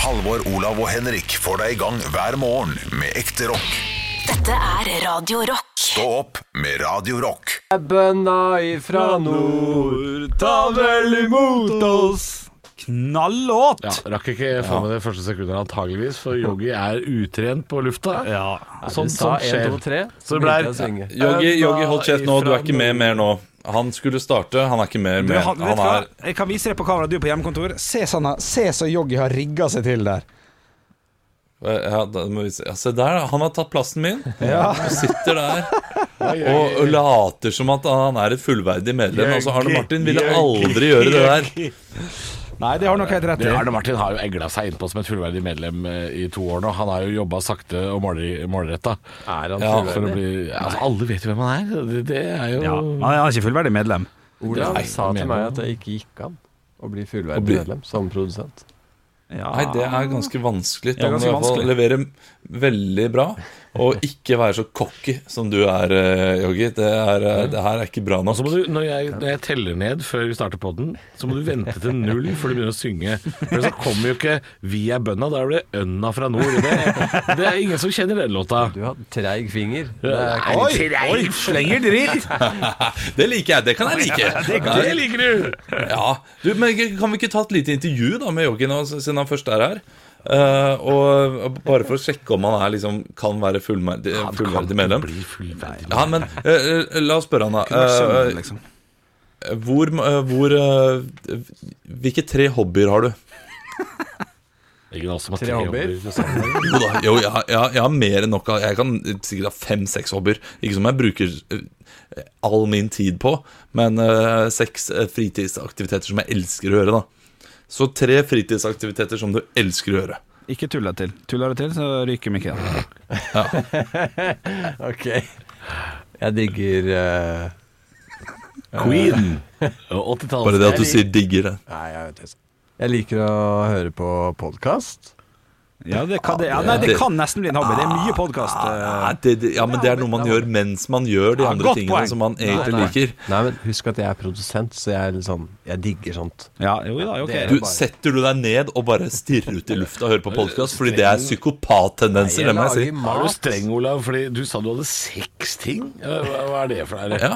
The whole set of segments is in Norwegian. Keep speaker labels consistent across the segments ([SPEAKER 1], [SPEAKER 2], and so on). [SPEAKER 1] Halvor, Olav og Henrik får deg i gang hver morgen med ekte rock.
[SPEAKER 2] Dette er Radio Rock.
[SPEAKER 1] Stå opp med Radio Rock.
[SPEAKER 3] Bønna ifra nord, ta vel imot oss.
[SPEAKER 4] Knallåt!
[SPEAKER 5] Ja, Rakk ikke få med det første sekundet, antageligvis, for Yogi er utrent på lufta.
[SPEAKER 4] Ja.
[SPEAKER 5] Sånn,
[SPEAKER 3] Vi sa
[SPEAKER 5] sånn
[SPEAKER 3] en, to,
[SPEAKER 5] skjer.
[SPEAKER 3] tre,
[SPEAKER 4] Så det ble-
[SPEAKER 3] begynte jeg å synge.
[SPEAKER 6] Yogi, Yogi, hold kjeft nå. Du er
[SPEAKER 5] Ifra
[SPEAKER 6] ikke med
[SPEAKER 5] nord.
[SPEAKER 6] mer nå. Han skulle starte, han er ikke mer
[SPEAKER 4] Du,
[SPEAKER 6] med.
[SPEAKER 4] han, vet
[SPEAKER 6] Han
[SPEAKER 4] du hva?
[SPEAKER 6] er
[SPEAKER 4] Jeg kan vise deg på kamera, du er på hjemmekontor.
[SPEAKER 7] Se sånn, her- se så Joggi har rigga seg til der.
[SPEAKER 6] ja, da må vi se. Ja, se der, han har tatt plassen min.
[SPEAKER 7] Ja.
[SPEAKER 6] Han sitter der og, og later som at han er et fullverdig medlem. Altså, Arne Martin ville aldri gjøre det der.
[SPEAKER 7] Nei, det har nok helt rett
[SPEAKER 5] Men
[SPEAKER 7] i.
[SPEAKER 5] Arne Martin har jo egla seg innpå som et fullverdig medlem eh, i to år nå. Han har jo jobba sakte og måler- målretta.
[SPEAKER 3] Er han
[SPEAKER 6] Ja,
[SPEAKER 3] fullverdig?
[SPEAKER 5] For å bli, altså, alle vet jo hvem han er. Det, det er jo
[SPEAKER 4] Ja, han er ikke fullverdig medlem.
[SPEAKER 3] Olav
[SPEAKER 5] Nei,
[SPEAKER 3] sa
[SPEAKER 5] jeg
[SPEAKER 3] til
[SPEAKER 5] mener
[SPEAKER 3] meg
[SPEAKER 5] det.
[SPEAKER 3] at det ikke gikk an å bli
[SPEAKER 6] Å
[SPEAKER 3] fullverdig
[SPEAKER 6] bli-
[SPEAKER 3] medlem som produsent.
[SPEAKER 4] Ja.
[SPEAKER 6] Nei, det er ganske vanskelig.
[SPEAKER 4] er
[SPEAKER 6] Da må du
[SPEAKER 4] ganske
[SPEAKER 6] i hvert fall
[SPEAKER 4] vanskelig.
[SPEAKER 6] levere veldig bra, og ikke være så cocky som du er, eh, Yogi. Det, er, eh, det her er ikke bra
[SPEAKER 5] Og så
[SPEAKER 6] nok.
[SPEAKER 5] må du, når jeg, når jeg teller ned før vi starter podden, så må du vente til null før du begynner å synge. For så kommer jo ikke 'Vi er bønda', da blir det 'Ønna fra nord'. Det, det er ingen som kjenner den låta.
[SPEAKER 3] Du har treig finger. Det er ikke-
[SPEAKER 5] Oi,
[SPEAKER 4] Oi, slenger dritt!
[SPEAKER 6] Det liker jeg. Det kan jeg like.
[SPEAKER 5] det liker du!
[SPEAKER 6] Ja, du, men Kan vi ikke ta et lite intervju da med Yogi nå, siden han først er her? Eh, og, og Bare for å sjekke om han er, liksom, kan være fullverdig, fullverdig medlem.
[SPEAKER 5] Bli fullverdig.
[SPEAKER 6] Ja, men eh, eh, La oss spørre han, da. Eh,
[SPEAKER 5] liksom.
[SPEAKER 6] eh, hvor eh, hvor eh, Hvilke tre hobbyer har du?
[SPEAKER 5] Ingen av oss som har
[SPEAKER 3] Tre
[SPEAKER 5] tre
[SPEAKER 3] hobbyer.
[SPEAKER 5] hobbyer. til sammen.
[SPEAKER 6] Jo da, jo, jeg, har- jeg, har- jeg har mer enn nok av Jeg kan sikkert ha fem-seks hobbyer. Ikke som jeg bruker eh, all min tid på, men eh, seks eh, fritidsaktiviteter som jeg elsker å gjøre, da. Så tre fritidsaktiviteter som du elsker å gjøre.
[SPEAKER 4] Ikke tull deg til. Tuller du til, så ryker vi ikke.
[SPEAKER 3] Ok. Jeg digger eh,
[SPEAKER 5] Queen. Og 80-tallet.
[SPEAKER 6] Bare det at du sier 'digger' det.
[SPEAKER 3] Nei, jeg vet ikke. Jeg liker å høre på podkast.
[SPEAKER 4] Ja, det kan, det, ja, nei, det kan nesten bli en hobby. Det er mye eh. podkast.
[SPEAKER 6] Nei, det, det, ja, men det er noe man gjør mens man gjør de
[SPEAKER 4] Ja,
[SPEAKER 6] andre
[SPEAKER 4] godt
[SPEAKER 6] tingene
[SPEAKER 4] poeng.
[SPEAKER 6] som man egentlig liker.
[SPEAKER 3] Nei, men husk at jeg er produsent, så jeg er litt sånn Jeg digger sånt.
[SPEAKER 4] Ja, jo da, ok.
[SPEAKER 3] Det er
[SPEAKER 6] Du,
[SPEAKER 3] bare-
[SPEAKER 6] setter du deg ned og bare stirrer ut i lufta og hører på podkast? Fordi det er psykopattendenser, det må jeg si.
[SPEAKER 5] Er du streng, Olav? Fordi du sa du hadde seks ting. Hva, hva er det for noe?
[SPEAKER 6] Ja.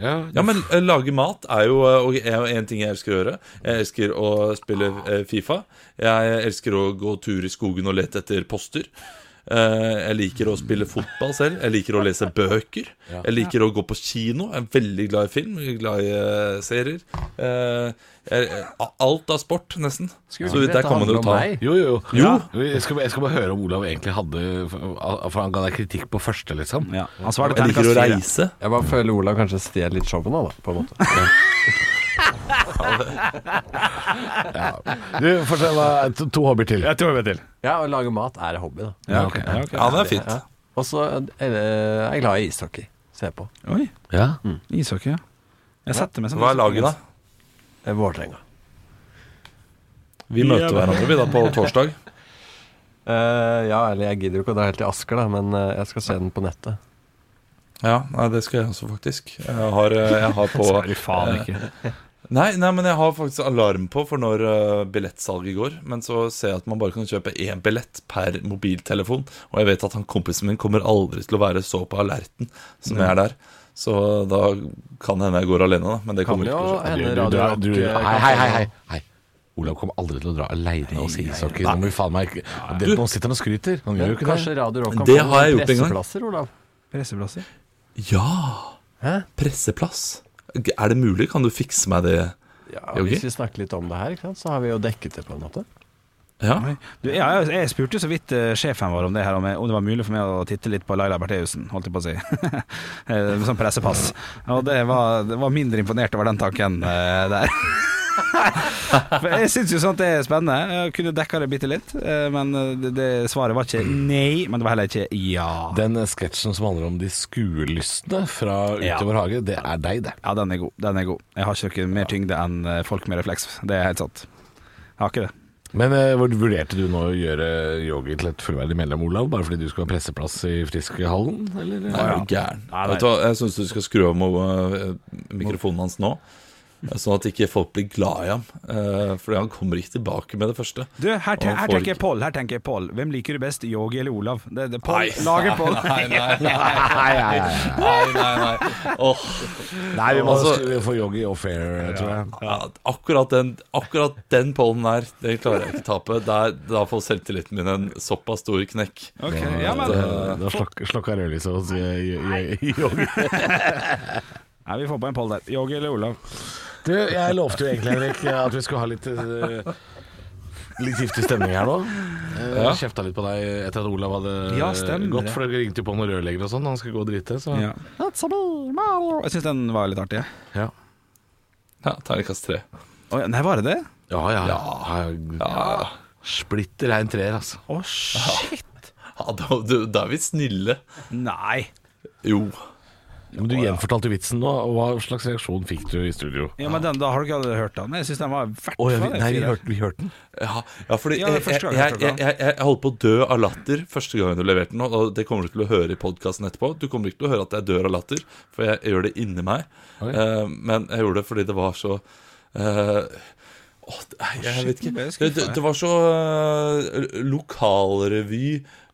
[SPEAKER 5] Ja.
[SPEAKER 6] Ja, men eh, lage mat er jo, eh, og er jo en ting jeg elsker å gjøre. Jeg elsker å spille eh, Fifa. Jeg elsker å gå tur i skogen og lete etter poster. Eh, Jeg liker å spille fotball selv. Jeg liker å lese bøker. Jeg liker å gå på kino. Jeg er veldig glad i film, glad i eh, serier. Eh, jeg- eh, Alt av sport, nesten. Så
[SPEAKER 3] ikke
[SPEAKER 6] der
[SPEAKER 3] dette
[SPEAKER 6] kan man
[SPEAKER 3] handle
[SPEAKER 6] jo
[SPEAKER 3] om
[SPEAKER 6] ta
[SPEAKER 3] meg?
[SPEAKER 5] Jo, jo.
[SPEAKER 6] Jo.
[SPEAKER 5] Jeg, skal, jeg skal bare høre om Olav egentlig hadde For han ga deg kritikk på første, liksom.
[SPEAKER 4] Ja, han svarte
[SPEAKER 6] Jeg liker
[SPEAKER 4] terningkast
[SPEAKER 6] å
[SPEAKER 4] fire.
[SPEAKER 6] reise.
[SPEAKER 3] Jeg bare føler Olav kanskje stjel litt showet nå, da, på en måte.
[SPEAKER 5] Du, fortell meg to, to hobbyer til.
[SPEAKER 4] Jeg tror jeg vet til.
[SPEAKER 3] Ja, å lage mat er hobby, da.
[SPEAKER 4] Ja, ok. Ja, ok.
[SPEAKER 6] Ja, det er fint.
[SPEAKER 3] Ja. Og så er det- er jeg glad i ishockey. Se på.
[SPEAKER 4] Oi,
[SPEAKER 5] Ja.
[SPEAKER 4] ishockey, ja. Jeg setter meg sånn.
[SPEAKER 6] Hva er laget, da?
[SPEAKER 3] Det er Vålerenga.
[SPEAKER 6] Vi møter hverandre vi da på torsdag.
[SPEAKER 3] Eh, ja, eller jeg gidder jo ikke å dra helt til Asker, da, men eh, jeg skal se den på nettet.
[SPEAKER 6] Ja, nei, det skal jeg også, faktisk. Jeg har, eh, jeg har på
[SPEAKER 4] Sorry, faen ikke.
[SPEAKER 6] Eh. Nei, nei, men jeg har faktisk alarm på for når eh, billettsalget går. Men så ser jeg at man bare kan kjøpe én billett per mobiltelefon. Og jeg vet at han kompisen min kommer aldri til å være så på alerten som jeg er der. Så da kan hende jeg går alene, da. Men det
[SPEAKER 3] Kan
[SPEAKER 6] kommer
[SPEAKER 3] jo
[SPEAKER 6] ikke til å skje.
[SPEAKER 3] hende
[SPEAKER 5] Du, du,
[SPEAKER 3] Radio
[SPEAKER 5] du,
[SPEAKER 3] Rock, eh,
[SPEAKER 5] hei,
[SPEAKER 3] kanskje-
[SPEAKER 5] hei, hei, hei. hei. Olav kommer aldri til å dra aleine og si ishockey. Nå må vi faen meg ikke det, Nå sitter han og skryter. Han gjør jo ikke det.
[SPEAKER 3] Kanskje Radio Rock kan
[SPEAKER 6] Det
[SPEAKER 3] få
[SPEAKER 6] har jeg
[SPEAKER 3] noen
[SPEAKER 6] gjort en gang.
[SPEAKER 3] presseplasser, Olav?
[SPEAKER 4] Presseplasser.
[SPEAKER 6] Ja!
[SPEAKER 3] Hæ?
[SPEAKER 6] Presseplass. Er det mulig? Kan du fikse meg det?
[SPEAKER 3] Ja,
[SPEAKER 6] Yogi?
[SPEAKER 3] Hvis vi snakker litt om det her, ikke sant, så har vi jo dekket det på en måte.
[SPEAKER 6] Ja.
[SPEAKER 4] Du, jeg, jeg, jeg spurte så vidt eh, sjefen vår om det her om, jeg, om det var mulig for meg å titte litt på Laila Bertheussen, holdt jeg på å si. Eh, sånn pressepass. Og det var, det var mindre imponert over den tanken eh, der. For jeg syns jo sånt er spennende. Jeg kunne dekka det bitte litt, eh, men eh, det, det svaret var ikke nei, men det var heller ikke ja.
[SPEAKER 5] Den eh, sketsjen som handler om de skuelystne fra
[SPEAKER 4] Ja.
[SPEAKER 5] Utover hage, det er deg, det.
[SPEAKER 4] Ja, den er god. Den er god. Jeg har ikke noe mer tyngde enn eh, folk med refleks. Det er helt sant. Jeg har ikke det.
[SPEAKER 5] Men eh, hvor- vurderte du nå å gjøre yogi til et fullverdig medlem, Olav? Bare fordi du skulle ha presseplass i Friskhallen, eller?
[SPEAKER 6] Nei, er du gæren?
[SPEAKER 4] Nei, nei.
[SPEAKER 6] Vet du hva, jeg syns du skal skru av mo- eh, mikrofonen hans nå. Sånn at ikke folk blir glad i ham. Uh, fordi han kommer ikke tilbake med det første.
[SPEAKER 4] Du, her, te
[SPEAKER 6] Og
[SPEAKER 4] her
[SPEAKER 6] folk-
[SPEAKER 4] tenker jeg Pål. Her tenker jeg Pål. Hvem liker du best, Yogi eller Olav? Det, det, Pål,
[SPEAKER 6] Nei.
[SPEAKER 4] lager Pål.
[SPEAKER 6] Nei, nei, nei. nei, nei, nei. Åh,
[SPEAKER 5] Nei, vi må
[SPEAKER 6] Altså-
[SPEAKER 5] skrive for Yogi og Fair, tror jeg.
[SPEAKER 6] ja, akkurat den, akkurat den pollen der, den klarer jeg ikke tape. Der, da får selvtilliten min en såpass stor knekk.
[SPEAKER 4] Ok, ja, men, eh,
[SPEAKER 5] Da- Da slok- slokka rødlyset hos eh, Yogi.
[SPEAKER 4] nei, vi får på en Pål der. Yogi eller Olav?
[SPEAKER 5] Du, jeg lovte jo egentlig, Henrik, at vi skulle ha litt eh, Litt giftig stemning her nå. Eh,
[SPEAKER 6] Ja.
[SPEAKER 5] Kjefta litt på deg etter at Olav hadde
[SPEAKER 4] Ja, stemmer
[SPEAKER 5] gått,
[SPEAKER 4] det.
[SPEAKER 5] for det ringte jo på noen rørleggere og sånn. Han skulle gå og drite. Så.
[SPEAKER 4] Ja. Jeg syns den var litt artig. jeg.
[SPEAKER 5] Ja.
[SPEAKER 6] Ja, Terningkast tre.
[SPEAKER 4] Å, ja, nei, var det det?
[SPEAKER 5] Ja, ja, ja. Splitter rein treer, altså.
[SPEAKER 4] Å, shit.
[SPEAKER 6] Ja, da, du, da er vi snille.
[SPEAKER 4] Nei.
[SPEAKER 6] Jo.
[SPEAKER 5] Men du gjenfortalte vitsen nå, og hva slags reaksjon fikk du i studio?
[SPEAKER 4] Ja, men den, da har du ikke alle hørt den? Jeg syns den var i hvert fall en firer.
[SPEAKER 5] den.
[SPEAKER 6] Ja, ja fordi
[SPEAKER 4] Ja, det er
[SPEAKER 6] jeg,
[SPEAKER 4] første gang jeg
[SPEAKER 6] jeg,
[SPEAKER 4] hørte det.
[SPEAKER 6] jeg, jeg, jeg holdt på å dø av latter første gangen du leverte den. Og det kommer du til å høre i podkasten etterpå. Du kommer ikke til å høre at jeg dør av latter, for jeg, gjør det inni meg. Eh, men jeg gjorde det fordi det var så eh, åh, det- jeg, vet
[SPEAKER 4] nå ble
[SPEAKER 6] ikke
[SPEAKER 4] jeg
[SPEAKER 6] Det,
[SPEAKER 4] skuffet,
[SPEAKER 6] det,
[SPEAKER 4] jeg.
[SPEAKER 6] det var så eh, lokalrevy.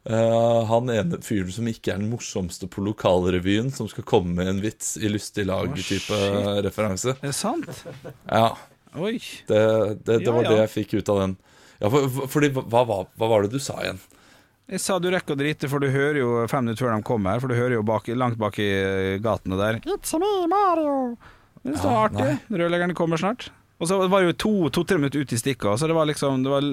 [SPEAKER 6] eh, han ene fyren som ikke er den morsomste på lokalrevyen, som skal komme med en vits i lystig lag-type referanse.
[SPEAKER 4] Er det sant?
[SPEAKER 6] Ja
[SPEAKER 4] Oi.
[SPEAKER 6] det, det, det
[SPEAKER 4] Ja,
[SPEAKER 6] var
[SPEAKER 4] ja.
[SPEAKER 6] det jeg fikk ut av den. Ja, for, for, fordi, hva, hva, hva var det du sa igjen?
[SPEAKER 4] Jeg sa du rekker å drite, for du hører jo fem minutter før de kommer, for du hører jo bak, langt bak i eh, gatene der. It's me, Mario. Det er så
[SPEAKER 6] Ja,
[SPEAKER 4] artig. Rørleggerne kommer snart. Og så var det jo to- to-tre minutter ut i stikka, så det var liksom Det var,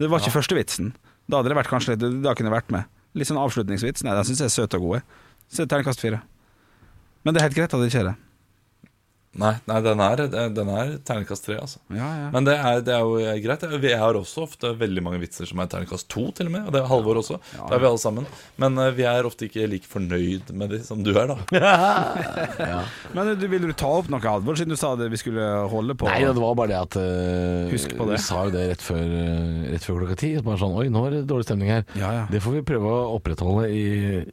[SPEAKER 4] det var ikke første vitsen. Da hadde det vært kanskje litt Da kunne jeg vært med. Litt sånn avslutningsvits. Nei, den syns jeg er søt og god. jeg. Så terningkast fire. Men det er helt greit at det ikke er det.
[SPEAKER 6] Nei, nei den er, den er terningkast tre, altså.
[SPEAKER 4] Ja, ja.
[SPEAKER 6] Men det er, det er jo eh, greit. Vi har også ofte veldig mange vitser som er terningkast to, til og med. Og det er Halvor også. Det er vi alle sammen. Men eh, vi er ofte ikke like fornøyd med de som du er, da.
[SPEAKER 4] Men eh, du, vil du ta opp noe, Halvor, siden du sa det vi skulle holde på?
[SPEAKER 5] Nei, det var bare det at eh,
[SPEAKER 4] Husk på det.
[SPEAKER 5] Vi sa jo det rett før, eh, rett før klokka ti. Bare sånn Oi, nå er det dårlig stemning her.
[SPEAKER 4] Ja, ja.
[SPEAKER 5] Det får vi prøve å opprettholde i,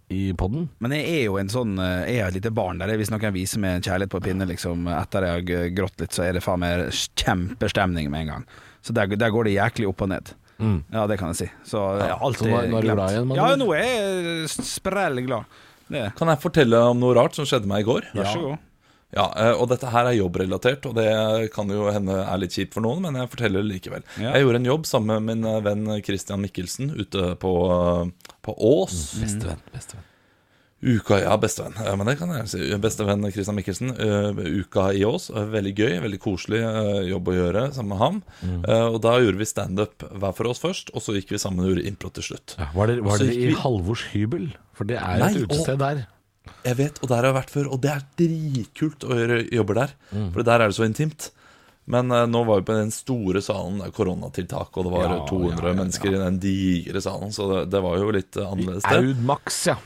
[SPEAKER 5] i poden.
[SPEAKER 4] Men jeg er jo en sånn eh, Jeg er et lite barn der. jeg- Hvis noen viser meg en kjærlighet på pinne liksom, etter jeg har g- grått litt, så er det faen meg kjempestemning med en gang. Så der, der går det jæklig opp og ned. Ja, det kan jeg si. Så jeg har alltid
[SPEAKER 5] så Mm. altså, nå- nå er du glad igjen, med
[SPEAKER 4] Ja,
[SPEAKER 5] andre
[SPEAKER 4] nå er jeg eh, sprell glad. Det. er jeg.
[SPEAKER 6] Kan jeg fortelle om noe rart som skjedde meg i går?
[SPEAKER 4] Vær så god.
[SPEAKER 6] Ja, eh, og dette her er jobbrelatert, og det kan jo hende er litt kjipt for noen, men jeg forteller det likevel.
[SPEAKER 4] Ja.
[SPEAKER 6] Jeg gjorde en jobb sammen med min eh, venn Christian Mikkelsen ute på, eh, på Ås.
[SPEAKER 5] Mm. Bestevenn. bestevenn
[SPEAKER 6] Uka, ja, bestevenn. Eh, Men det kan jeg si. Bestevenn Christian Mikkelsen. eh, Uka i Ås. Eh, Veldig gøy, veldig koselig eh, jobb å gjøre sammen med ham.
[SPEAKER 5] Mm.
[SPEAKER 6] Eh, Og da gjorde vi standup hver for oss først, og så gikk vi sammen og gjorde impro til slutt.
[SPEAKER 5] Ja, var dere, var
[SPEAKER 6] Så
[SPEAKER 5] dere
[SPEAKER 6] gikk
[SPEAKER 5] i
[SPEAKER 6] vi-
[SPEAKER 5] Halvors hybel? For det er jo
[SPEAKER 6] Nei,
[SPEAKER 5] et utested der.
[SPEAKER 6] Jeg vet, og der har jeg vært før, og det er dritkult å gjøre jobber der.
[SPEAKER 5] Mm.
[SPEAKER 6] For der er det så intimt. Men eh, nå var vi på den store salen, det er koronatiltak, og det var
[SPEAKER 5] Ja,
[SPEAKER 6] 200 mennesker i den digre salen, så det, det var jo litt eh, annerledes. det.
[SPEAKER 5] Aud Max, ja.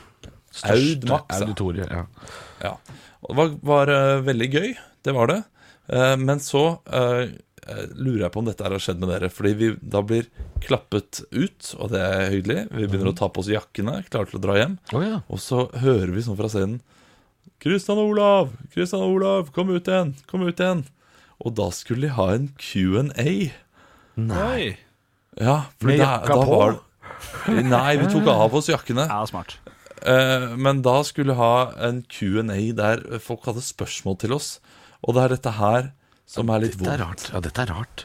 [SPEAKER 6] Aud Max, ja.
[SPEAKER 5] auditoriet. Ja.
[SPEAKER 6] Ja. Og det var, var eh, veldig gøy, det var det. Eh, men så eh, eh, lurer jeg på om dette her har skjedd med dere. Fordi vi da blir klappet ut, og det er hyggelig. Vi begynner å ta på oss jakkene, klare til å dra hjem.
[SPEAKER 5] Å, ja.
[SPEAKER 6] Og så hører vi sånn fra scenen Kristian og Olav, Kristian og Olav, kom ut igjen, kom ut igjen Og da skulle de ha en Q&A
[SPEAKER 4] Nei.
[SPEAKER 6] Ja, for
[SPEAKER 5] Med
[SPEAKER 6] da,
[SPEAKER 5] jakka
[SPEAKER 6] da
[SPEAKER 5] på?
[SPEAKER 6] var Nei, vi tok av oss jakkene
[SPEAKER 4] Ja, smart.
[SPEAKER 6] Eh, Men da skulle de ha en Q&A der folk hadde spørsmål til oss Og det er dette her som er litt
[SPEAKER 5] Dette er
[SPEAKER 6] vondt
[SPEAKER 5] rart. Ja, dette er rart.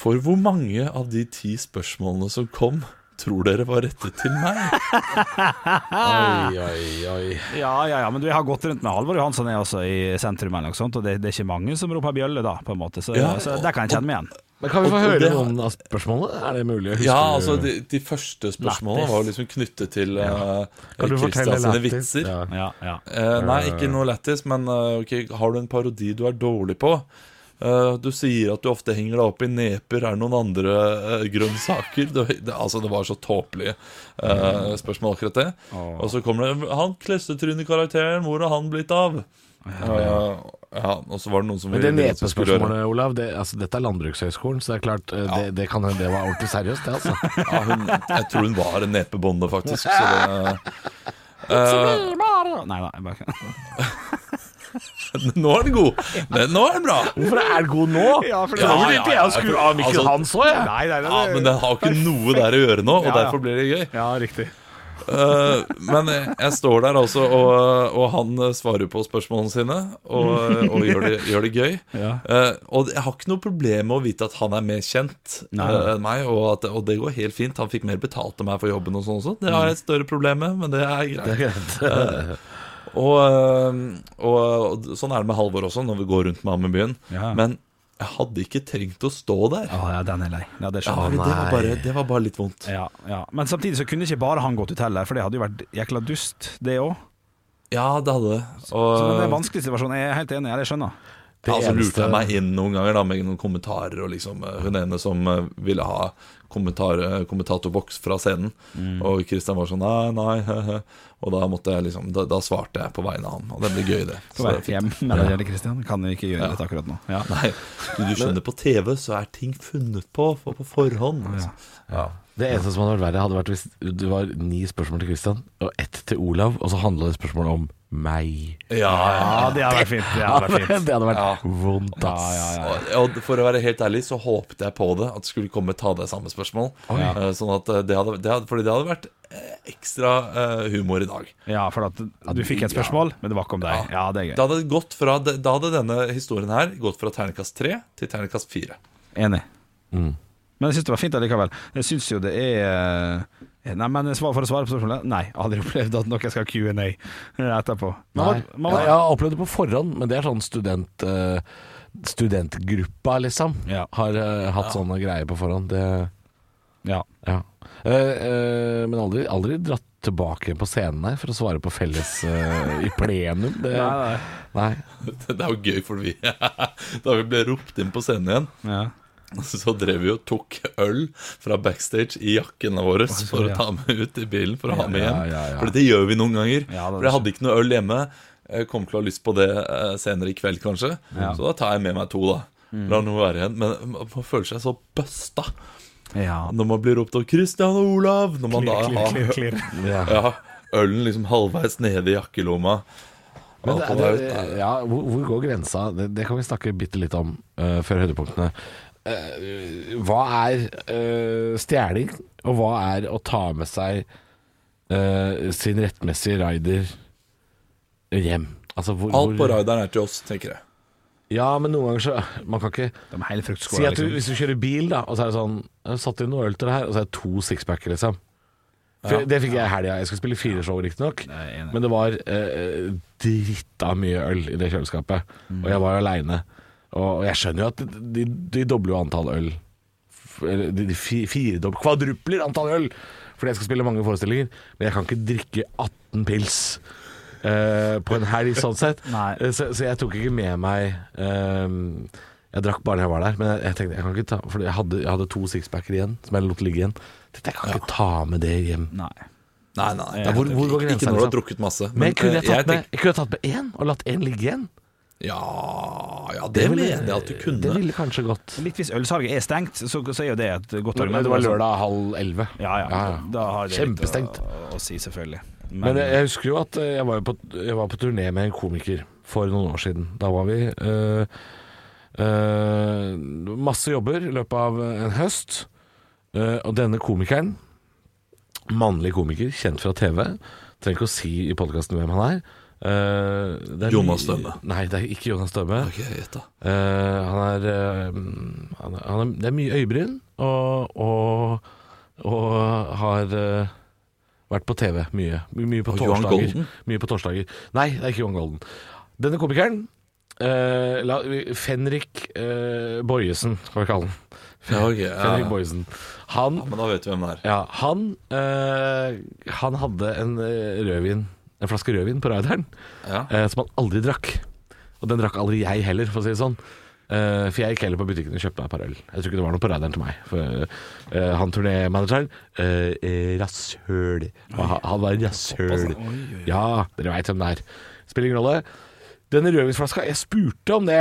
[SPEAKER 6] For hvor mange av de ti spørsmålene som kom Tror dere var rettet til meg?
[SPEAKER 5] Oi, oi, oi.
[SPEAKER 4] Ja, ja, ja, men du, jeg har gått rundt med Halvor Johansson jeg også i sentrum, eller noe sånt, og det, det er ikke mange som roper bjølle da, på en måte, så,
[SPEAKER 6] Ja,
[SPEAKER 4] så der kan jeg kjenne meg igjen.
[SPEAKER 5] Men kan vi
[SPEAKER 6] Og-
[SPEAKER 5] få
[SPEAKER 6] og
[SPEAKER 5] høre
[SPEAKER 6] det-
[SPEAKER 5] noen av spørsmålene? Er det mulig? Husker
[SPEAKER 6] Ja,
[SPEAKER 5] du-
[SPEAKER 6] altså de, de første spørsmålene var liksom knyttet til eh,
[SPEAKER 5] Kan du fortelle
[SPEAKER 6] Christian sine
[SPEAKER 5] lættis?
[SPEAKER 6] vitser.
[SPEAKER 5] Ja.
[SPEAKER 4] Ja, ja.
[SPEAKER 6] Eh, nei, ikke noe lættis, men eh, ok, har du en parodi du er dårlig på? Eh, du sier at du ofte henger deg opp i neper. Er det noen andre eh, grønnsaker? Du, det, altså, det var så tåpelige eh, spørsmål, akkurat det. Og så kommer det Han klessetrynekarakteren, hvor har han blitt av? Eh, ja, og så var det noen som
[SPEAKER 5] Men det
[SPEAKER 6] ville- noen som skulle gjøre-
[SPEAKER 5] nepespørsmålet, Olav, det, altså, dette er Landbrukshøgskolen, så det er klart eh, det, det kan hende det var ordentlig seriøst, det, altså.
[SPEAKER 6] ja, hun, Jeg tror hun var en nepebonde, faktisk. Så det,
[SPEAKER 4] Nei da, jeg bare
[SPEAKER 6] Nå er den god. Den, nå er den bra.
[SPEAKER 5] Hvorfor er den god nå?
[SPEAKER 7] Ja, for det-
[SPEAKER 5] Da vil ikke jeg skru av mikken
[SPEAKER 6] Altså-
[SPEAKER 5] hans òg, jeg.
[SPEAKER 7] Nei, nei, nei,
[SPEAKER 6] Ja, Men den har ikke noe der å gjøre nå, og
[SPEAKER 7] Ja, ja.
[SPEAKER 6] derfor blir det gøy.
[SPEAKER 7] Ja, riktig.
[SPEAKER 6] Eh, men jeg jeg står der altså, og, og han eh, svarer på spørsmålene sine, og, og gjør, det, gjør det gøy. Eh, og jeg har ikke noe problem med å vite at han er mer kjent eh, enn meg, og, at, og det går helt fint. Han fikk mer betalt av meg for jobben og sånn også. Det har jeg et større problem med, men det er greit. Eh, og, eh, og, og sånn er det med Halvor også, når vi går rundt med ham i byen.
[SPEAKER 4] Ja.
[SPEAKER 6] Men jeg hadde ikke trengt å stå der.
[SPEAKER 4] Å ja, den er lei. Ja, det
[SPEAKER 6] Ja,
[SPEAKER 4] skjønner
[SPEAKER 6] det,
[SPEAKER 4] jeg.
[SPEAKER 6] var bare, det var bare litt vondt.
[SPEAKER 4] Ja, ja. Men samtidig så kunne ikke bare han gått ut heller, for det hadde jo vært jækla dust, det òg.
[SPEAKER 6] Ja, det hadde det. Og-
[SPEAKER 4] Så det er en vanskelig situasjon. Jeg er helt enig, jeg skjønner.
[SPEAKER 5] Det
[SPEAKER 6] Ja, så Altså, lurte
[SPEAKER 5] eneste-
[SPEAKER 6] jeg meg inn noen ganger da, med noen kommentarer. Og liksom, eh, hun ene som eh, ville ha kommentar, eh, kommentatorboks fra scenen.
[SPEAKER 4] Mm.
[SPEAKER 6] Og Kristian var sånn nei, nei. he, he». Og da, måtte jeg liksom, da, da svarte jeg på vegne av han. Og det ble gøy, det.
[SPEAKER 4] På
[SPEAKER 6] Så
[SPEAKER 4] vei
[SPEAKER 6] det er fint.
[SPEAKER 4] hjem med det gjelder Christian. Kan vi ikke gjøre
[SPEAKER 6] Ja.
[SPEAKER 4] dette akkurat nå. Ja.
[SPEAKER 6] Nei, du, du skjønner, på TV så er ting funnet på for, på forhånd. altså.
[SPEAKER 5] Det eneste som hadde vært verre, hadde vært hvis det var ni spørsmål til Christian og ett til Olav, og så handla det spørsmålet om meg.
[SPEAKER 6] Ja, ja.
[SPEAKER 4] Ja, det hadde vært fint. Det hadde vært fint.
[SPEAKER 5] det hadde vært vondt, ass.
[SPEAKER 6] Og, og for å være helt ærlig så håpte jeg på det, at det skulle komme ta deg samme spørsmål. Eh, Sånn at eh, det hadde, det hadde, fordi det hadde vært eh, ekstra eh, humor i dag.
[SPEAKER 4] Ja, for at du fikk et spørsmål, men det var ikke om deg. Ja, det er gøy.
[SPEAKER 6] Da hadde, det gått fra, da hadde denne historien her gått fra terningkast 3 til terningkast 4.
[SPEAKER 4] Enig. Men jeg syns det var fint allikevel. Jeg syns jo det er eh, Nei, men svar- for å svare på spørsmålet Nei, jeg hadde jo opplevd at noen skal ha Q&A etterpå. Man var,
[SPEAKER 5] Nei.
[SPEAKER 4] man
[SPEAKER 5] Ja,
[SPEAKER 4] var,
[SPEAKER 5] jeg har opplevd det på forhånd, men det er sånn student, eh, studentgruppa, liksom.
[SPEAKER 4] Ja.
[SPEAKER 5] Har eh, hatt sånne greier på forhånd. Det,
[SPEAKER 4] ja.
[SPEAKER 5] ja. Eh, eh, men aldri, aldri dratt tilbake på scenen her for å svare på felles eh, i plenum. Det,
[SPEAKER 4] Nei,
[SPEAKER 5] nei.
[SPEAKER 6] Det er jo gøy, for vi da vi ble ropt inn på scenen igjen,
[SPEAKER 4] Ja.
[SPEAKER 6] så drev vi og tok øl fra backstage i jakkene våre for å ta med ut i bilen for å ha med hjem.
[SPEAKER 5] Ja, ja, ja.
[SPEAKER 6] For det gjør vi noen ganger.
[SPEAKER 4] Ja, det er
[SPEAKER 6] for jeg hadde ikke noe øl hjemme. Jeg kommer til å ha lyst på det eh, senere i kveld, kanskje. Så da tar jeg med meg to, da.
[SPEAKER 5] Mm.
[SPEAKER 6] La noe være igjen. Men man føler seg så busta
[SPEAKER 4] ja.
[SPEAKER 6] når man blir ropt opp 'Christian og Olav'. Når man da
[SPEAKER 4] Klirr,
[SPEAKER 6] har
[SPEAKER 4] klirr, klirr.
[SPEAKER 6] Ja, ølen liksom halvveis nede i jakkelomma.
[SPEAKER 5] Men det,
[SPEAKER 6] Ja,
[SPEAKER 5] det,
[SPEAKER 6] det er-
[SPEAKER 5] ja, hvor, hvor går grensa? Det, det kan vi snakke bitte litt om eh, før høydepunktene. Eh, hva er eh, stjeling, og hva er å ta med seg eh, sin rettmessige rider hjem? Altså, hvor,
[SPEAKER 6] Alt på
[SPEAKER 5] hvor-
[SPEAKER 6] rideren er til oss, tenker jeg.
[SPEAKER 5] Ja, men noen ganger så Man kan ikke
[SPEAKER 4] De er hele fruktskåla,
[SPEAKER 5] si at du,
[SPEAKER 4] liksom.
[SPEAKER 5] Hvis du kjører bil, da, og så er det sånn Jeg har satt inn noe øl til det her, og så er det to sixpacker, liksom. For Det fikk jeg i helga. Jeg skulle spille fire show, riktignok.
[SPEAKER 4] enig.
[SPEAKER 5] Men det var eh, dritta mye øl i det kjøleskapet.
[SPEAKER 4] Mm.
[SPEAKER 5] Og jeg var aleine. Og og jeg skjønner jo at de, de dobler jo antall øl. F- eller De, de fi- firedobler Kvadrupler antall øl! Fordi jeg skal spille mange forestillinger. Men jeg kan ikke drikke 18 pils eh, på en helg, sånn sett.
[SPEAKER 4] Nei.
[SPEAKER 5] Eh, Så, så jeg tok ikke med meg ehm, Jeg drakk bare da jeg var der, men jeg, jeg tenkte jeg kan ikke ta For jeg hadde, jeg hadde to sixpacker igjen som jeg lot ligge igjen. Tenkte, jeg kan ikke ta med det hjem.
[SPEAKER 4] Nei.
[SPEAKER 6] Nei, nei, nei.
[SPEAKER 5] Ja, hvor- hvor går
[SPEAKER 6] ikke,
[SPEAKER 5] grensa,
[SPEAKER 6] ikke når du
[SPEAKER 5] liksom?
[SPEAKER 6] har drukket masse.
[SPEAKER 5] Men kunne
[SPEAKER 6] eh,
[SPEAKER 5] jeg, tatt
[SPEAKER 6] tenker-
[SPEAKER 5] med, jeg kunne tatt med én og latt én ligge igjen.
[SPEAKER 6] Ja, ja, det,
[SPEAKER 5] ville-
[SPEAKER 6] mener jeg at du kunne.
[SPEAKER 5] Det ville kanskje gått.
[SPEAKER 4] Litt hvis ølsalget er stengt, så, så er jo det et godt
[SPEAKER 5] Men
[SPEAKER 4] argument.
[SPEAKER 5] det var lørdag halv elleve.
[SPEAKER 4] Ja, ja. Da har det litt
[SPEAKER 5] Kjempestengt.
[SPEAKER 4] Å, å si, selvfølgelig.
[SPEAKER 5] Men jeg, jeg husker jo at eh, jeg var, jo på, jeg var på turné med en komiker for noen år siden. Da var vi eh, eh, masse jobber i løpet av en høst. Eh, og denne komikeren, mannlig komiker, kjent fra TV Trenger ikke å si i podkasten hvem han er. Eh, det er
[SPEAKER 6] Jonas
[SPEAKER 5] ny-
[SPEAKER 6] Støme.
[SPEAKER 5] Nei, det er ikke Jonas Støme.
[SPEAKER 6] Ok, gjett da.
[SPEAKER 5] Eh, han er, eh, han er, han er Det er mye øyebryn, og, og, og har eh, vært på TV mye. My- Mye på
[SPEAKER 6] Og Johan
[SPEAKER 5] torsdager.
[SPEAKER 6] Golden?
[SPEAKER 5] Mye på torsdager. Nei, det er ikke Johan Golden. Denne komikeren eh, la, Fenrik eh, Bojesen, skal vi kalle han.
[SPEAKER 6] Ja, ok, ja.
[SPEAKER 5] Fenrik Bojesen. Han
[SPEAKER 6] Ja, men da vet vi hvem det er.
[SPEAKER 5] ja, han, eh, han hadde en eh, rødvin En flaske rødvin på rideren
[SPEAKER 6] Ja.
[SPEAKER 5] eh, Som han aldri drakk Og den drakk aldri jeg heller, for å si det sånn Eh, For jeg gikk heller på butikken og kjøpte meg et par øl Jeg tror ikke det var noe på rideren til meg for, eh, Han turnémanageren eh, eh, Rasshøl Og han- Han var rasshøl Ja, dere vet hvem det er Spiller ingen rolle Denne rødvinsflaska, jeg spurte om det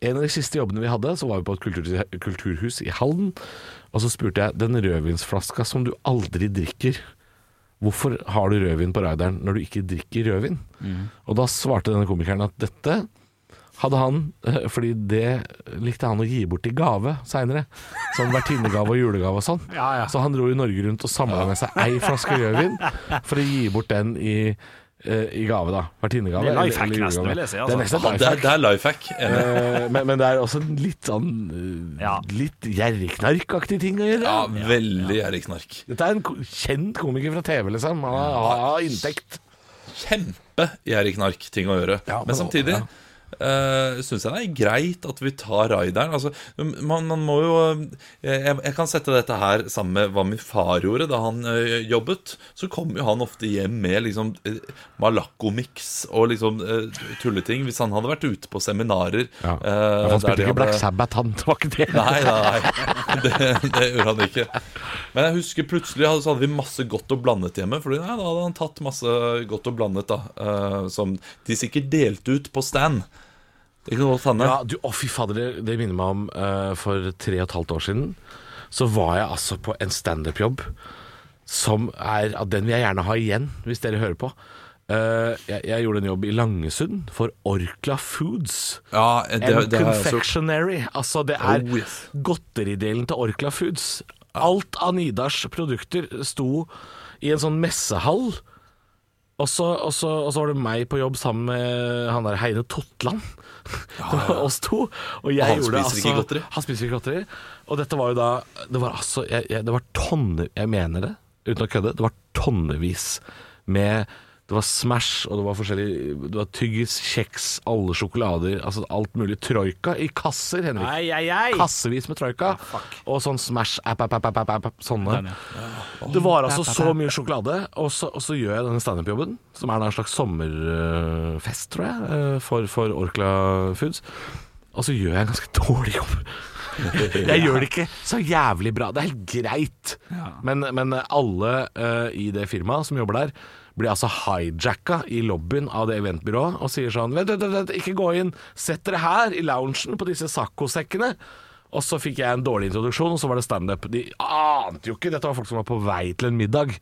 [SPEAKER 5] En av de siste jobbene vi hadde Så var vi på et kultur, kulturhus i Halden Og så spurte jeg Den rødvinsflaska som du aldri drikker Hvorfor har du rødvin på rideren når du ikke drikker rødvin?
[SPEAKER 4] Mm.
[SPEAKER 5] Og da svarte denne komikeren at dette hadde han, eh, fordi det likte han å gi bort i gave seinere. Sånn vertinnegave og julegave og sånn. Så han dro i Norge rundt og samla med seg ei flaske rødvin for å gi bort den i, eh, i gave, da. Vertinnegave.
[SPEAKER 4] Det er
[SPEAKER 5] eller-
[SPEAKER 4] lifehack
[SPEAKER 5] eller
[SPEAKER 4] nesten,
[SPEAKER 5] julegave.
[SPEAKER 4] vil jeg si, altså.
[SPEAKER 5] Det er nesten et
[SPEAKER 6] Det
[SPEAKER 5] lifehack.
[SPEAKER 6] er, det er life hack. Enig.
[SPEAKER 5] Eh, men, men det er også en litt sånn eh,
[SPEAKER 4] Ja.
[SPEAKER 5] Litt gjerriknarkaktig ting å gjøre.
[SPEAKER 6] Ja, veldig gjerrigknark.
[SPEAKER 5] Dette er en ko- kjent komiker fra TV, liksom. Han har, har- har inntekt.
[SPEAKER 6] Kjempe-gjerrigknark-ting å gjøre. men, samtidig ja. syns jeg det er greit at vi tar raideren. Altså, man, man må jo eh, jeg, jeg kan sette dette her sammen med hva min far gjorde da han eh, jobbet. Så kom jo han ofte hjem med liksom eh, Malaco-miks og liksom eh, tulleting. Hvis han hadde vært ute på seminarer
[SPEAKER 5] Ja.
[SPEAKER 6] eh,
[SPEAKER 5] han
[SPEAKER 6] der
[SPEAKER 5] spilte
[SPEAKER 6] de
[SPEAKER 5] ikke Black
[SPEAKER 6] hadde-
[SPEAKER 5] Sabbath, han. Det var ikke det.
[SPEAKER 6] Nei, nei, nei. Det, det gjorde han ikke. Men jeg husker plutselig hadde, så hadde vi masse godt og blandet hjemme. Fordi nei, da hadde han tatt masse godt og blandet, da. eh, som de sikkert delte ut på stand. Det kan godt hende.
[SPEAKER 5] Ja, du, å fy fader, det, det minner meg om eh, for tre og et halvt år siden. Så var jeg altså på en standup-jobb som er ja, Den vil jeg gjerne ha igjen, hvis dere hører på. Eh, jeg, jeg gjorde en jobb i Langesund for Orkla Foods.
[SPEAKER 6] Ja,
[SPEAKER 5] En
[SPEAKER 6] Eh, det har jeg også gjort.
[SPEAKER 5] confectionery. Altså, det er
[SPEAKER 6] Oh, yes.
[SPEAKER 5] godteridelen til Orkla Foods. Alt av Nidars produkter sto i en sånn messehall. Og så, og, så, og så var det meg på jobb sammen med han der Heine Totland. oss to. Og jeg
[SPEAKER 6] Og han
[SPEAKER 5] gjorde altså-
[SPEAKER 6] spiser ikke godteri.
[SPEAKER 5] Han spiser ikke godteri. Og dette var jo da Det var altså jeg, jeg, Det var tonne Jeg mener det, uten å kødde. Det var tonnevis med Det var Smash, og det var forskjellig Det var tyggis, kjeks, alle sjokolader, altså alt mulig. Troika i kasser, Henrik.
[SPEAKER 4] Ei, ei, ei.
[SPEAKER 5] Kassevis med troika. og sånn Smash, app, app, app, app, app, app sånne. Det var altså så mye sjokolade, og så, og så gjør jeg denne standup-jobben, som er da en slags sommerfest, tror jeg, eh, for, for Orkla Foods. Og så gjør jeg en ganske dårlig jobb. Jeg gjør det ikke så jævlig bra. Det er helt greit. Men, men alle eh, i det firmaet som jobber der, blir altså hijacka i lobbyen av det eventbyrået og sier sånn Vent, vent, vent, ikke gå inn. Sett dere her, i loungen, på disse saccosekkene. Og så fikk jeg en dårlig introduksjon, og så var det standup. De ante jo ikke Dette var folk som var på vei til en middag.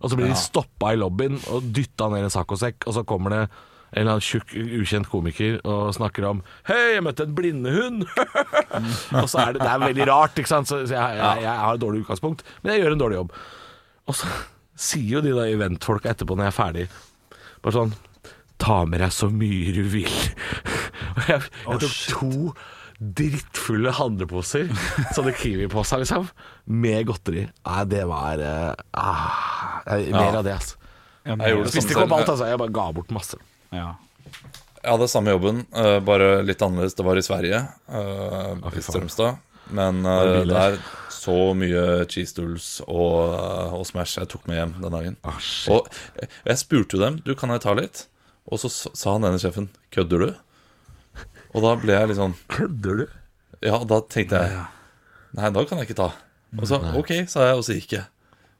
[SPEAKER 5] Og så blir de stoppa i lobbyen og dytta ned i en saccosekk, og så kommer det en eller annen tjukk, ukjent komiker og snakker om 'Hei, jeg møtte en blindehund!' og så er det, det er veldig rart, ikke sant? Så, så jeg, jeg, jeg har et dårlig utgangspunkt, men jeg gjør en dårlig jobb. Og så sier jo de da eventfolka etterpå når jeg er ferdig, bare sånn Ta med deg så mye du vil. Og jeg, jeg tok to drittfulle handleposer, sånne Kiwi-poser, liksom, med godteri. Nei, det var eh, ah, jeg- Mer av det, altså.
[SPEAKER 6] Jeg gjorde det
[SPEAKER 5] Spiste ikke
[SPEAKER 6] samme
[SPEAKER 5] opp alt,
[SPEAKER 6] selv.
[SPEAKER 5] altså. Jeg bare ga bort masse.
[SPEAKER 4] Ja.
[SPEAKER 6] Jeg hadde samme jobben, eh, bare litt annerledes. Det var i Sverige, eh,
[SPEAKER 5] fy faen.
[SPEAKER 6] i Strømstad. Men
[SPEAKER 5] det
[SPEAKER 6] eh,
[SPEAKER 5] billig?
[SPEAKER 6] der så mye cheese doodles og, eh, og Smash jeg tok med hjem den dagen.
[SPEAKER 5] Ah, shit.
[SPEAKER 6] Og jeg- jeg spurte jo dem Du, kan jeg ta litt? Og så s- sa han ene sjefen Kødder du? Og da ble jeg litt sånn
[SPEAKER 5] Kødder du?
[SPEAKER 6] Ja, og da tenkte jeg Nei, da kan jeg ikke ta Og så ok, sa jeg, og så gikk jeg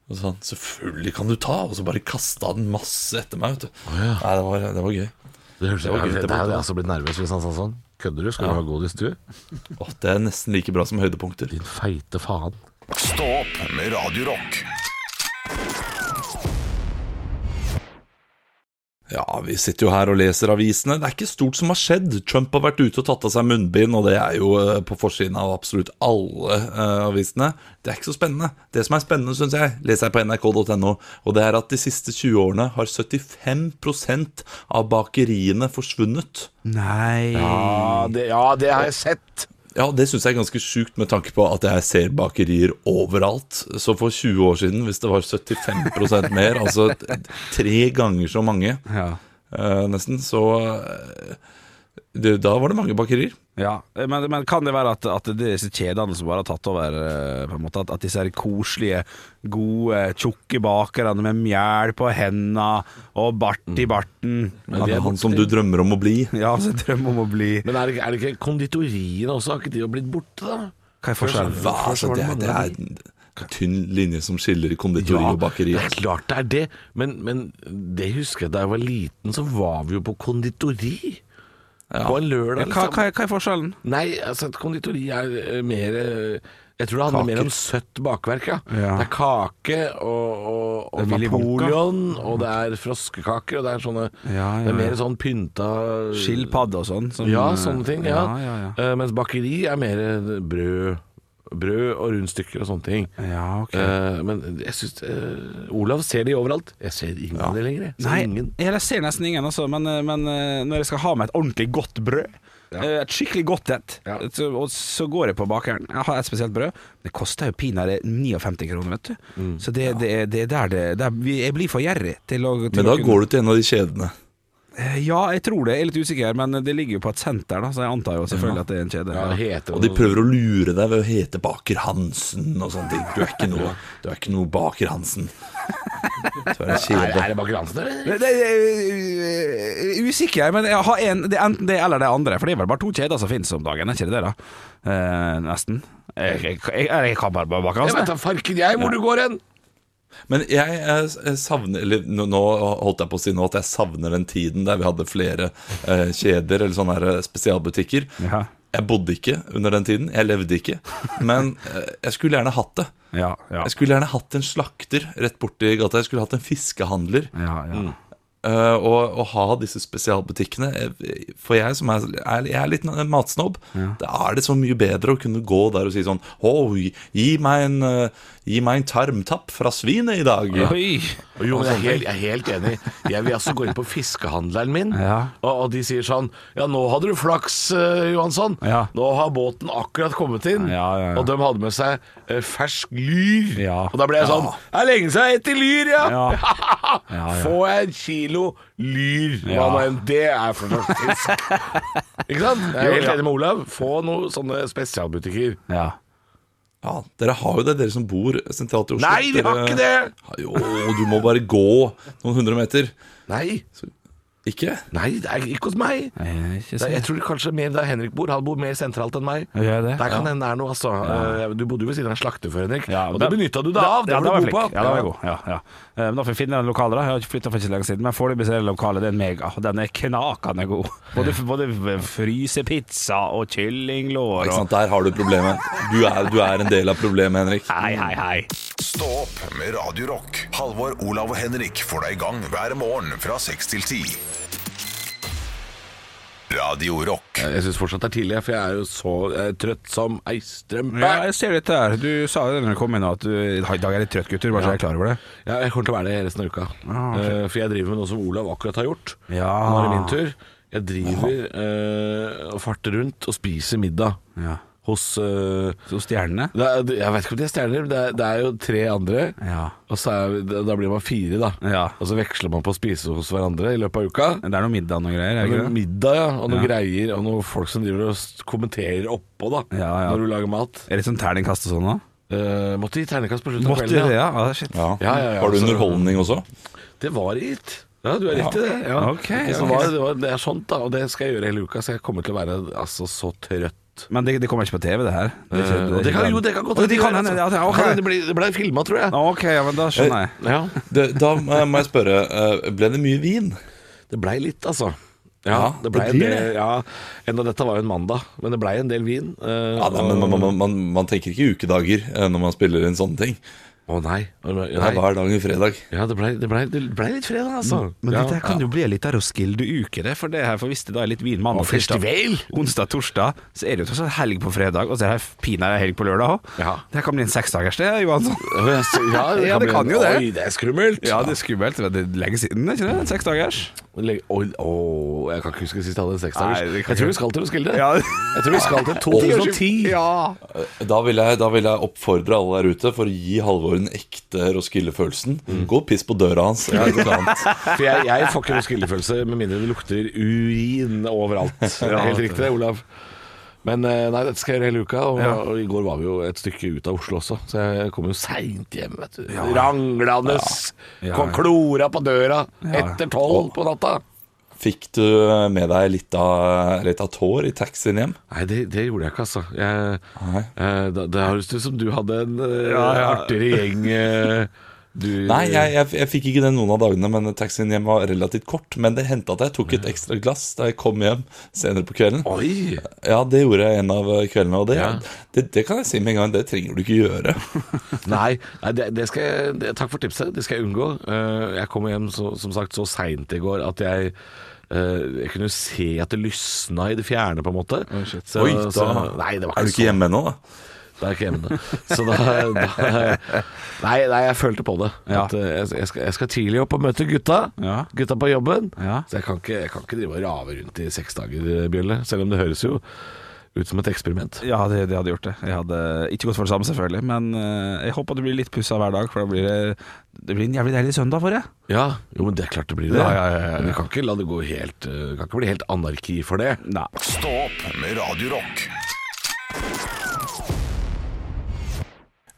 [SPEAKER 6] Og så sa han, selvfølgelig kan du ta Og så bare kastet han masse etter meg, vet du Nei, det var, det var gøy
[SPEAKER 5] Det høres
[SPEAKER 6] var
[SPEAKER 5] jeg,
[SPEAKER 6] gøy,
[SPEAKER 5] jeg,
[SPEAKER 6] det
[SPEAKER 5] jeg hadde
[SPEAKER 6] var-
[SPEAKER 5] altså blitt nervøs hvis han sa sånn. Kødder du? Skal du ha godis, du?
[SPEAKER 6] Åh, det er nesten like bra som høydepunkter
[SPEAKER 5] Din feite faen.
[SPEAKER 1] Stå opp med Radio Rock.
[SPEAKER 6] Ja, vi sitter jo her og leser avisene Det er ikke stort som har skjedd Trump har vært ute og tatt av seg munnbind Og det er jo eh, på forsiden av absolutt alle eh, avisene Det er ikke så spennende Det som er spennende, synes jeg, leser jeg på nrk.no Og det er at de siste 20 årene har 75% av bakeriene forsvunnet
[SPEAKER 4] Nei
[SPEAKER 5] Ja det, ja, det har jeg sett.
[SPEAKER 6] Ja, det syns jeg er ganske sjukt med tanke på at jeg ser bakerier overalt. Så for 20 år siden, hvis det var 75 mer, altså t- tre ganger så mange
[SPEAKER 4] Ja.
[SPEAKER 6] eh, nesten, så eh, det, Da var det mange bakerier.
[SPEAKER 4] Ja, men, men kan det være at, at disse kjedene som bare har tatt over eh, på en måte, at, at disse her koselige, gode, tjukke bakerne med mjæl på hendene og bart
[SPEAKER 5] Mm.
[SPEAKER 4] i barten
[SPEAKER 6] Han,
[SPEAKER 4] At-
[SPEAKER 6] han som du drømmer om å bli.
[SPEAKER 4] Ja, altså drøm om å bli
[SPEAKER 5] Men er det, ikke- er det ikke konditoriene også? Har ikke de blitt borte, da?
[SPEAKER 4] Hva er forskjellen?
[SPEAKER 6] Hva, altså, det, er- det er en tynn linje som skiller konditori og bakeri.
[SPEAKER 5] Det er klart det er det, men, men det husker jeg da jeg var liten, så var vi jo på konditori. På en
[SPEAKER 4] Ja,
[SPEAKER 5] lørdag.
[SPEAKER 4] hva,
[SPEAKER 5] liksom.
[SPEAKER 4] hva, er- hva er forskjellen?
[SPEAKER 5] Nei, altså et konditori er eh, mer eh, Jeg tror det handler mer om søtt bakverk, ja.
[SPEAKER 4] Ja.
[SPEAKER 5] Det er kake og, og,
[SPEAKER 4] Det
[SPEAKER 5] og
[SPEAKER 4] er Willy Wonka.
[SPEAKER 5] Napoleon, og det er froskekaker, og det er sånne
[SPEAKER 4] Ja, ja,
[SPEAKER 5] Det er mer
[SPEAKER 4] ja.
[SPEAKER 5] sånn pynta
[SPEAKER 4] Skilpadde og sånn. som-
[SPEAKER 5] Ja, sånne ting. Ja.
[SPEAKER 4] Ja, ja, ja.
[SPEAKER 5] Eh, mens bakeri er mer eh, brød, brød og rundstykker og sånne ting.
[SPEAKER 4] Ja, ok.
[SPEAKER 5] Eh, men jeg syns eh, Olav ser de overalt. Jeg ser ingen av de lenger. Jeg ser
[SPEAKER 4] Nei,
[SPEAKER 5] ingen.
[SPEAKER 4] jeg ser nesten ingen, altså, men, men eh, når jeg skal ha meg et ordentlig godt brød, eh, et skikkelig godt et,
[SPEAKER 5] Ja.
[SPEAKER 4] så, og så går jeg på bakeren. Jeg har et spesielt brød. Det koster jo pinadø 59 kroner, vet du.
[SPEAKER 5] Mm.
[SPEAKER 4] Så det, det, er- det er der det der, vi- Jeg blir for gjerrig til å til
[SPEAKER 6] Men
[SPEAKER 4] å
[SPEAKER 6] da
[SPEAKER 4] kunne-
[SPEAKER 6] går du til en av de kjedene.
[SPEAKER 4] Eh, Ja, jeg tror det. Jeg er litt usikker, men det ligger jo på et senter, da, så jeg antar jo selvfølgelig at det er en kjede.
[SPEAKER 5] Ja, det heter
[SPEAKER 6] Og de
[SPEAKER 5] noe-
[SPEAKER 6] prøver å lure deg ved å hete Baker Hansen og sånne ting. Du er ikke noe, du er ikke noe Baker Hansen. Du er en
[SPEAKER 5] Er,
[SPEAKER 6] kjede.
[SPEAKER 5] er det Baker Hansen, eller?
[SPEAKER 4] Det, det, jeg er usikker, men jeg har en, det er enten det eller det andre. For det er vel bare to kjeder som finnes om dagen, er ikke det det? da? Eh, nesten. Jeg, jeg, jeg, jeg kan bare bak
[SPEAKER 5] Jeg
[SPEAKER 4] Hansen.
[SPEAKER 5] vet da farken jeg hvor du går hen!
[SPEAKER 6] Men jeg, eh, jeg savner Eller nå nå holdt jeg på å si nå at jeg savner den tiden der vi hadde flere eh, kjeder eller sånne her eh, spesialbutikker.
[SPEAKER 4] Ja.
[SPEAKER 6] Jeg bodde ikke under den tiden. Jeg levde ikke. Men eh, jeg skulle gjerne hatt det.
[SPEAKER 4] Ja, ja.
[SPEAKER 6] Jeg skulle gjerne hatt en slakter rett borti gata. Jeg skulle hatt en fiskehandler.
[SPEAKER 4] ja, ja.
[SPEAKER 5] Mm.
[SPEAKER 6] Eh, og å ha disse spesialbutikkene eh, For jeg som er, er, jeg er litt en matsnobb, da er det så mye bedre å kunne gå der og si sånn «Å, gi- gi meg en, eh, gi meg en tarmtapp fra svinet i dag.
[SPEAKER 4] Oi!
[SPEAKER 5] Og Jo, men jeg er, helt, jeg er helt enig. Jeg vil også gå inn på fiskehandleren min,
[SPEAKER 4] Ja.
[SPEAKER 5] og, og de sier sånn Ja, nå hadde du flaks, eh, Johansson.
[SPEAKER 4] Ja.
[SPEAKER 5] Nå har båten akkurat kommet inn.
[SPEAKER 4] Ja, ja, ja.
[SPEAKER 5] Og de hadde med seg eh, fersk lyr.
[SPEAKER 4] Ja.
[SPEAKER 5] Og da ble jeg sånn Det er lenge siden jeg har spist lyr, ja!
[SPEAKER 4] Ja.
[SPEAKER 5] Får jeg en kilo lyr, hva
[SPEAKER 4] Ja.
[SPEAKER 5] nå enn det er for noe fisk. Ikke sant? Jeg er helt enig med Olav. Få noen sånne spesialbutikker.
[SPEAKER 4] Ja.
[SPEAKER 6] Ja, dere har jo det, dere som bor sentralt i Oslo.
[SPEAKER 5] Nei, vi har
[SPEAKER 6] Dere-
[SPEAKER 5] ikke det!
[SPEAKER 6] Ja, Jo, du må bare gå noen hundre meter.
[SPEAKER 5] Nei,
[SPEAKER 6] Ikke?
[SPEAKER 5] Nei det er ikke hos meg.
[SPEAKER 4] Eh, Ikke
[SPEAKER 5] Det,
[SPEAKER 4] så
[SPEAKER 5] jeg tror kanskje mer der Henrik bor. Han bor mer sentralt enn meg.
[SPEAKER 4] Gjør jeg det?
[SPEAKER 5] Der kan hende det er noe, altså. Eh, Du bodde jo ved siden av en slakter før, Henrik.
[SPEAKER 4] Ja,
[SPEAKER 5] og
[SPEAKER 4] da-
[SPEAKER 5] det benytta du deg av. Det
[SPEAKER 4] ja,
[SPEAKER 5] var
[SPEAKER 4] da jeg
[SPEAKER 5] du god på.
[SPEAKER 4] flink. Ja, da var jeg god. Ja, ja. Eh, Men da får vi finne den lokale, da. Jeg har ikke flytta for ikke så lenge siden, men foreløpig så er det lokale. Det er en mega. og Den er knakende god. Både, både frysepizza og kyllinglår
[SPEAKER 6] Ikke
[SPEAKER 4] og
[SPEAKER 6] sant, Der har du problemet. Du er, du er en del av problemet, Henrik.
[SPEAKER 4] Hei, hei, hei.
[SPEAKER 1] Stå opp med Radio Rock. Halvor, Olav og Henrik får deg i gang hver morgen fra 6 til 10. Radio Rock.
[SPEAKER 5] Jeg syns fortsatt det er tidlig, for jeg er jo så eh, trøtt som ei strømpe.
[SPEAKER 4] Ja, jeg ser litt der. Du sa jo det når du kom inn at du i dag er jeg litt trøtt, gutter. Bare så jeg er klar over det.
[SPEAKER 5] Ja, jeg kommer til å være det resten av uka.
[SPEAKER 4] Ah, ok.
[SPEAKER 5] Eh, for jeg driver med noe som Olav akkurat har gjort.
[SPEAKER 4] Ja.
[SPEAKER 5] Nå er det min tur. Jeg driver eh, og farter rundt og spiser middag
[SPEAKER 4] Ja.
[SPEAKER 5] hos eh,
[SPEAKER 4] Så stjernene?
[SPEAKER 5] det er, Jeg vet ikke om de er stjerner, men det er, det er jo tre andre.
[SPEAKER 4] Ja.
[SPEAKER 5] Og så er, vi- da blir man fire, da.
[SPEAKER 4] Ja.
[SPEAKER 5] Og så veksler man på å spise hos hverandre i løpet av uka.
[SPEAKER 4] Det er noe middag og noe greier, er
[SPEAKER 5] Og
[SPEAKER 4] det
[SPEAKER 5] noe
[SPEAKER 4] ikke det?
[SPEAKER 5] middag, ja. Og noen greier, og noen folk som driver og s- kommenterer oppå, da.
[SPEAKER 4] Ja, ja.
[SPEAKER 5] Når du lager mat.
[SPEAKER 4] Er det sånn terningkast og sånn da?
[SPEAKER 5] Eh, måtte gi terningkast på slutten av
[SPEAKER 4] Måtte
[SPEAKER 5] kvelden.
[SPEAKER 4] det,
[SPEAKER 5] Ja.
[SPEAKER 4] ja? Ah, shit.
[SPEAKER 6] Ja.
[SPEAKER 5] Ja, ja, ja,
[SPEAKER 6] har du
[SPEAKER 5] altså-
[SPEAKER 6] underholdning også?
[SPEAKER 5] Det var i it. Ja, du har rett i det. Ja.
[SPEAKER 4] Ok,
[SPEAKER 5] Ikke så
[SPEAKER 4] ok.
[SPEAKER 5] Var, det, var, det er sånt, da. Og det skal jeg gjøre hele uka. Så jeg kommer til å være altså, så trøtt.
[SPEAKER 4] Men det, det kommer ikke på TV, det her? Det, er ikke- det er
[SPEAKER 5] Eh, og det
[SPEAKER 4] ikke
[SPEAKER 5] kan
[SPEAKER 4] den-
[SPEAKER 5] jo det kan godt
[SPEAKER 4] Å, det kan hende,
[SPEAKER 5] altså.
[SPEAKER 4] ja, det- ok.
[SPEAKER 5] Ja, det ble, det ble filma, tror jeg.
[SPEAKER 4] Ja, Ok, ja, men da skjønner jeg.
[SPEAKER 5] Ja,
[SPEAKER 6] Det, da må jeg- må jeg spørre, eh, ble det mye vin?
[SPEAKER 5] det blei litt, altså.
[SPEAKER 6] Ja,
[SPEAKER 5] Ja, det blei
[SPEAKER 6] det
[SPEAKER 5] en
[SPEAKER 6] blir
[SPEAKER 5] del
[SPEAKER 6] det.
[SPEAKER 5] ja, Enda dette var jo en mandag, men det blei en del vin. eh,
[SPEAKER 6] Ja, nei, men man, man, man, man tenker ikke ukedager eh, når man spiller inn sånne ting.
[SPEAKER 5] Å nei. Å, nei.
[SPEAKER 6] Det er hver dag en fredag.
[SPEAKER 5] Ja, det blei det ble, det ble litt fredag, altså.
[SPEAKER 4] Men
[SPEAKER 5] ja.
[SPEAKER 4] dette her kan jo bli litt av Roskilde-uke, det. For det her, for hvis det da er litt vin
[SPEAKER 5] Og
[SPEAKER 4] mandag,
[SPEAKER 5] festival!
[SPEAKER 4] onsdag, torsdag, så er det jo tross alt helg på fredag, og så er det pinadø helg på lørdag òg.
[SPEAKER 5] Ja.
[SPEAKER 4] Det her kan bli en seksdagers, det, Johansson.
[SPEAKER 5] Ja, det,
[SPEAKER 4] Ja, det
[SPEAKER 5] bli-
[SPEAKER 4] kan jo det.
[SPEAKER 5] Oi, det er skummelt.
[SPEAKER 4] Ja, det er skummelt. men Det er lenge siden, er ikke det? En Seksdagers?
[SPEAKER 5] Legg- Oi, å, jeg kan ikke huske sist jeg hadde en
[SPEAKER 4] Nei,
[SPEAKER 5] seksdagers.
[SPEAKER 4] det kan
[SPEAKER 5] Jeg tror
[SPEAKER 4] ikke-
[SPEAKER 5] vi skal til Roskilde.
[SPEAKER 4] Ja.
[SPEAKER 5] Jeg tror vi skal til 2010.
[SPEAKER 4] Ja.
[SPEAKER 6] Da vil, jeg, da vil jeg oppfordre alle der ute for å gi Halvor den ekte Roskilde-følelsen.
[SPEAKER 5] Mm.
[SPEAKER 6] Gå og piss på døra hans. Eller noe annet.
[SPEAKER 5] For jeg, jeg får ikke Roskilde-følelse med mindre det lukter urin overalt. Det er Helt riktig, Olav. Men eh, nei, dette skal jeg gjøre hele uka. Og, og i går var vi jo et stykke ut av Oslo også, så jeg kom jo seint hjem. vet du Ranglende.
[SPEAKER 4] Ja.
[SPEAKER 5] Kom klora på døra etter tolv på natta.
[SPEAKER 6] Fikk du eh, med deg litt av, litt av tår i taxien hjem?
[SPEAKER 5] Nei, det, det gjorde jeg ikke, altså. Jeg,
[SPEAKER 6] Nei.
[SPEAKER 5] eh, da, det høres ut som du hadde en eh,
[SPEAKER 4] Ja, ja.
[SPEAKER 5] artigere gjeng eh,
[SPEAKER 4] Du-
[SPEAKER 6] Nei, jeg, jeg, jeg fikk ikke det noen av dagene, men taxien hjem var relativt kort. Men det hendte at jeg tok et ekstra glass da jeg kom hjem senere på kvelden.
[SPEAKER 5] Oi!
[SPEAKER 6] Ja, det gjorde jeg en av eh, kveldene, og det,
[SPEAKER 5] Ja.
[SPEAKER 6] det, det kan jeg si med en gang, det trenger du ikke gjøre.
[SPEAKER 5] Nei, nei det, det skal jeg, det, takk for tipset. Det skal jeg unngå. Eh, jeg kom hjem så, som sagt så seint i går at jeg eh, jeg kunne se at det lysna i det fjerne, på en måte. Så-
[SPEAKER 6] Oi, da
[SPEAKER 5] så- nei, det var
[SPEAKER 6] Er du ikke
[SPEAKER 5] så-
[SPEAKER 6] hjemme ennå, da?
[SPEAKER 5] Da er jeg ikke hjemme. da. Så da, da nei, nei, jeg følte på det.
[SPEAKER 4] Ja.
[SPEAKER 5] At eh, jeg, jeg, skal, jeg skal tidlig opp og møte gutta.
[SPEAKER 4] Ja.
[SPEAKER 5] Gutta på jobben.
[SPEAKER 4] Ja.
[SPEAKER 5] Så jeg kan, ikke, jeg kan ikke drive og rave rundt i seks dager, eh, Bjølle. Selv om det høres jo ut som et eksperiment.
[SPEAKER 4] Ja, det, det hadde gjort det. Jeg hadde ikke gått for det samme, selvfølgelig. Men eh, jeg håper det blir litt pussa hver dag, for da blir det, det blir en jævlig deilig søndag for det.
[SPEAKER 5] Ja, jo, men det er klart det blir det.
[SPEAKER 4] Ja, ja, ja, ja.
[SPEAKER 5] Men vi kan ikke la det gå helt eh, Kan ikke bli helt anarki for det.
[SPEAKER 4] Nei.
[SPEAKER 1] Stå opp med Radio Rock.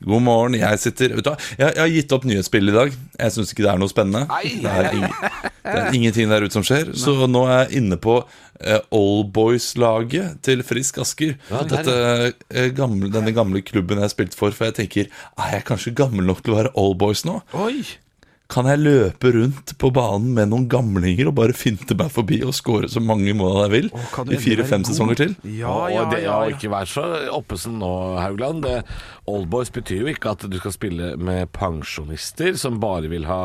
[SPEAKER 6] God morgen, jeg sitter Vet du hva, jeg, jeg har gitt opp nyhetsbildet i dag. Jeg syns ikke det er noe spennende. Det, er ing, det er ingenting der ute som skjer. Så nå er jeg inne på eh, Oldboys-laget til Frisk Asker.
[SPEAKER 5] Ja, der,
[SPEAKER 6] Dette, eh, gamle, denne gamle klubben jeg spilte for. For jeg tenker, er jeg kanskje gammel nok til å være Oldboys nå?
[SPEAKER 5] Oi!
[SPEAKER 6] Kan jeg løpe rundt på banen med noen gamlinger og bare finte meg forbi og score så mange mål jeg vil?
[SPEAKER 4] kan du endelig
[SPEAKER 6] I
[SPEAKER 4] være
[SPEAKER 6] fire-fem
[SPEAKER 4] god?
[SPEAKER 6] sesonger til?
[SPEAKER 4] Ja,
[SPEAKER 5] og
[SPEAKER 4] ja,
[SPEAKER 5] det,
[SPEAKER 4] ja.
[SPEAKER 5] og ikke vær så oppesen nå, Haugland. Det- Oldboys betyr jo ikke at du skal spille med pensjonister som bare vil ha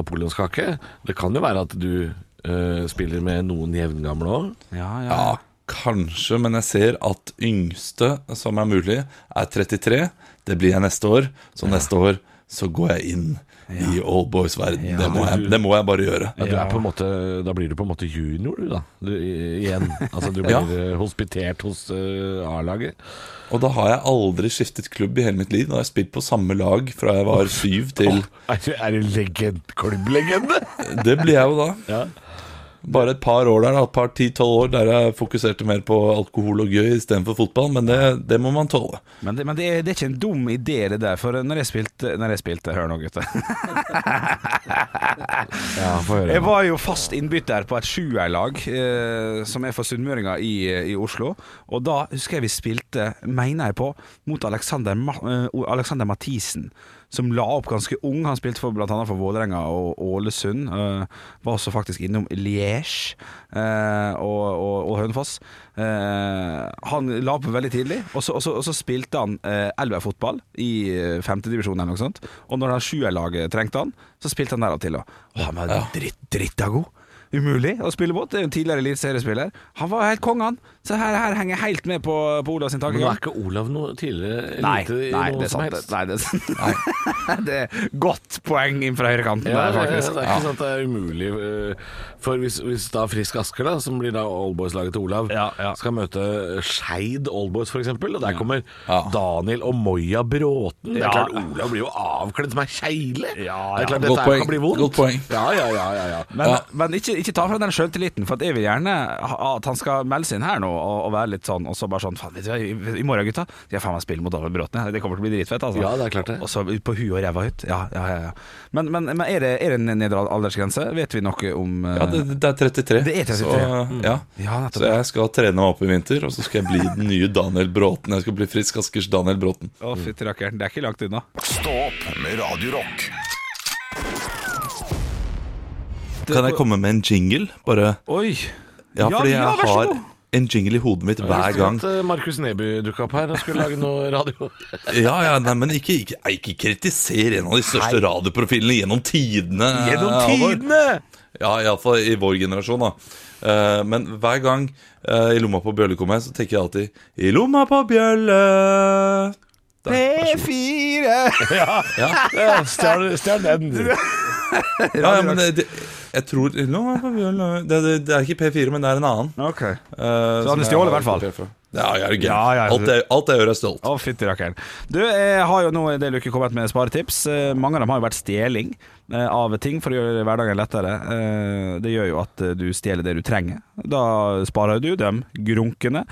[SPEAKER 5] napoleonskake. Det kan jo være at du eh, spiller med noen jevngamle òg.
[SPEAKER 4] Ja, ja.
[SPEAKER 6] Ja, kanskje, men jeg ser at yngste som er mulig, er 33. Det blir jeg neste år. Så neste år så går jeg inn i oldboys-verden. Det, må jeg- det må jeg bare gjøre.
[SPEAKER 5] Ja, du er på en måte, da blir du på en måte junior, du, da. Du, i- igjen. Altså, du blir
[SPEAKER 6] Ja.
[SPEAKER 5] eh, hospitert hos eh, A-laget.
[SPEAKER 6] Og da har jeg aldri skiftet klubb i hele mitt liv. Nå har jeg spilt på samme lag fra jeg var syv til
[SPEAKER 5] Er du- Er du legend, klubblegende?
[SPEAKER 6] Det blir jeg jo da.
[SPEAKER 5] Ja.
[SPEAKER 6] Bare et par år der, da, et par 10-12 år der jeg fokuserte mer på alkohol og gøy istedenfor fotball, men det, det må man tåle.
[SPEAKER 4] Men, det, men det, er, det er ikke en dum idé, det der. For når jeg spilte, når jeg spilte Hør nå, gutter.
[SPEAKER 5] Ja, få høre.
[SPEAKER 4] Jeg var jo fast innbytter på et sjuerlag, eh, som er for sunnmøringer i, i Oslo. Og da husker jeg vi spilte, mener jeg på, mot Alexander, Ma eh, Alexander Mathisen. Som la opp ganske ung. Han spilte for bl.a. for Vålerenga og Ålesund. eh, var også faktisk innom Liège eh, og, og, og Hønefoss. Eh, han la opp veldig tidlig, og så, og så, og så spilte han eh, elverfotball i femtedivisjon eller noe sånt. Og når han sjuerlaget trengte han, så spilte han der og til. Og, og han var dritt, dritta god. Umulig å spille mot. Det er jo en Tidligere eliteseriespiller. Han var helt konge, han. Så her, her henger jeg helt med på, på Ola sin
[SPEAKER 5] Men nå
[SPEAKER 4] tankegang.
[SPEAKER 5] er ikke Olav noe tidligere
[SPEAKER 4] Nei,
[SPEAKER 5] elite i
[SPEAKER 4] nei,
[SPEAKER 5] noe
[SPEAKER 4] det er
[SPEAKER 5] som
[SPEAKER 4] sant.
[SPEAKER 5] helst.
[SPEAKER 4] Nei, det, er- det er godt poeng inn fra høyrekanten
[SPEAKER 5] Ja,
[SPEAKER 4] der,
[SPEAKER 5] det, det
[SPEAKER 4] faktisk.
[SPEAKER 5] er ikke sant det er umulig. eh, For hvis, hvis da Frisk Asker, da, som blir da Oldboys-laget til Olav,
[SPEAKER 4] Ja, ja.
[SPEAKER 5] skal møte Skeid Oldboys f.eks., og der kommer Daniel og Moya Bråten Det er klart Olav blir jo avkledd som ei kegle. Det er klart
[SPEAKER 6] Godt
[SPEAKER 5] dette her
[SPEAKER 6] poeng.
[SPEAKER 5] kan bli vondt.
[SPEAKER 6] Godt poeng.
[SPEAKER 5] Ja, ja, ja, ja, ja.
[SPEAKER 4] Men, men ikke, ikke ta fra den sjøltilliten, for at jeg vil gjerne ha- at han skal melde seg inn her nå og, og være litt sånn, og så bare sånn Faen, vet du hva, i- i morgen, gutta, skal jeg faen meg spille mot David Bråten. jeg. Det kommer til å bli dritfett, altså.
[SPEAKER 5] Ja, det er klart det.
[SPEAKER 4] Og så ut på huet og ræva ut. Ja, ja, ja. ja. Men, men, men er, det, er det en nedre aldersgrense? Vet vi noe om eh,
[SPEAKER 6] Ja, det, det er 33.
[SPEAKER 4] Det er 33,
[SPEAKER 6] Så, ja.
[SPEAKER 4] Ja, nettopp.
[SPEAKER 6] så jeg skal trene meg opp i vinter, og så skal jeg bli den nye Daniel Bråten. Jeg skal bli Frisk Askers Daniel Bråten.
[SPEAKER 4] Å, fytti rakkeren, det er ikke langt unna.
[SPEAKER 1] Stå opp med Radio Rock.
[SPEAKER 6] Kan jeg komme med en jingle? Bare
[SPEAKER 4] Oi!
[SPEAKER 6] Ja, fordi
[SPEAKER 4] ja,
[SPEAKER 6] jeg
[SPEAKER 4] vær så
[SPEAKER 6] har
[SPEAKER 4] god.
[SPEAKER 6] en jingle i hodet mitt hver gang.
[SPEAKER 5] At eh, Markus Neby dukka opp her og skulle lage noe radio.
[SPEAKER 6] Ja, ja, nei, men ikke, ikke, nei, ikke kritiser en av de største radioprofilene gjennom tidene.
[SPEAKER 4] Gjennom
[SPEAKER 6] Halvor.
[SPEAKER 4] tidene!
[SPEAKER 6] Ja, iallfall i vår generasjon, da. Eh, men hver gang eh, i lomma på bjølle kommer jeg, så tenker jeg alltid I lomma på bjølle. Der, vær så god.
[SPEAKER 4] P4!
[SPEAKER 5] Ja, Stjel stjel den. du.
[SPEAKER 6] Ja, ja, men det, det, jeg tror I lomma på bjølle det, det, det er ikke P4, men det er en annen.
[SPEAKER 4] Ok.
[SPEAKER 6] eh, som
[SPEAKER 4] han er
[SPEAKER 6] jeg
[SPEAKER 4] stjålet i
[SPEAKER 6] har
[SPEAKER 4] hvert fall.
[SPEAKER 6] kopiert fra. Ja, jeg er gøy.
[SPEAKER 4] Ja, ja, ja.
[SPEAKER 6] alt, jeg- alt jeg gjør, er stolt.
[SPEAKER 4] Å, fytti rakkeren. Du, jeg har jo nå i del uke kommet med sparetips. Eh, Mange av dem har jo vært stjeling eh, av ting for å gjøre hverdagen lettere. Eh, Det gjør jo at eh, du stjeler det du trenger. Da sparer du dem grunkene.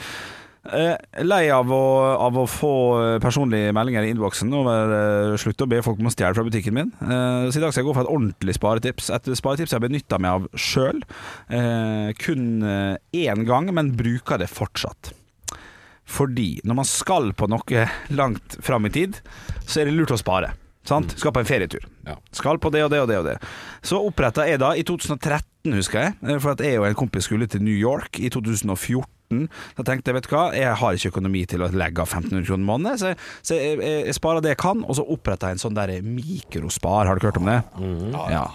[SPEAKER 4] Eh, Lei av å, av å få eh, personlige meldinger i innboksen over eh, slutt å be folk om å stjele fra butikken min. Eh, Så i dag skal jeg gå for et ordentlig sparetips. Et sparetips jeg har benytta meg av sjøl. Kun eh, én gang, men bruker det fortsatt. Fordi når man skal på noe langt fram i tid, så er det lurt å spare. Sant? Skal på en ferietur.
[SPEAKER 5] Ja.
[SPEAKER 4] Skal på det og det og det og det. Så oppretta jeg da, i 2013 husker jeg, eh, for at jeg og en kompis skulle til New York i 2014. Da tenkte jeg, vet du hva, jeg har ikke økonomi til å legge av 1500 kroner måneden, så, jeg- så jeg, jeg, jeg sparer det jeg kan, og så oppretta jeg en sånn der mikrospar, har dere hørt om det? Ja.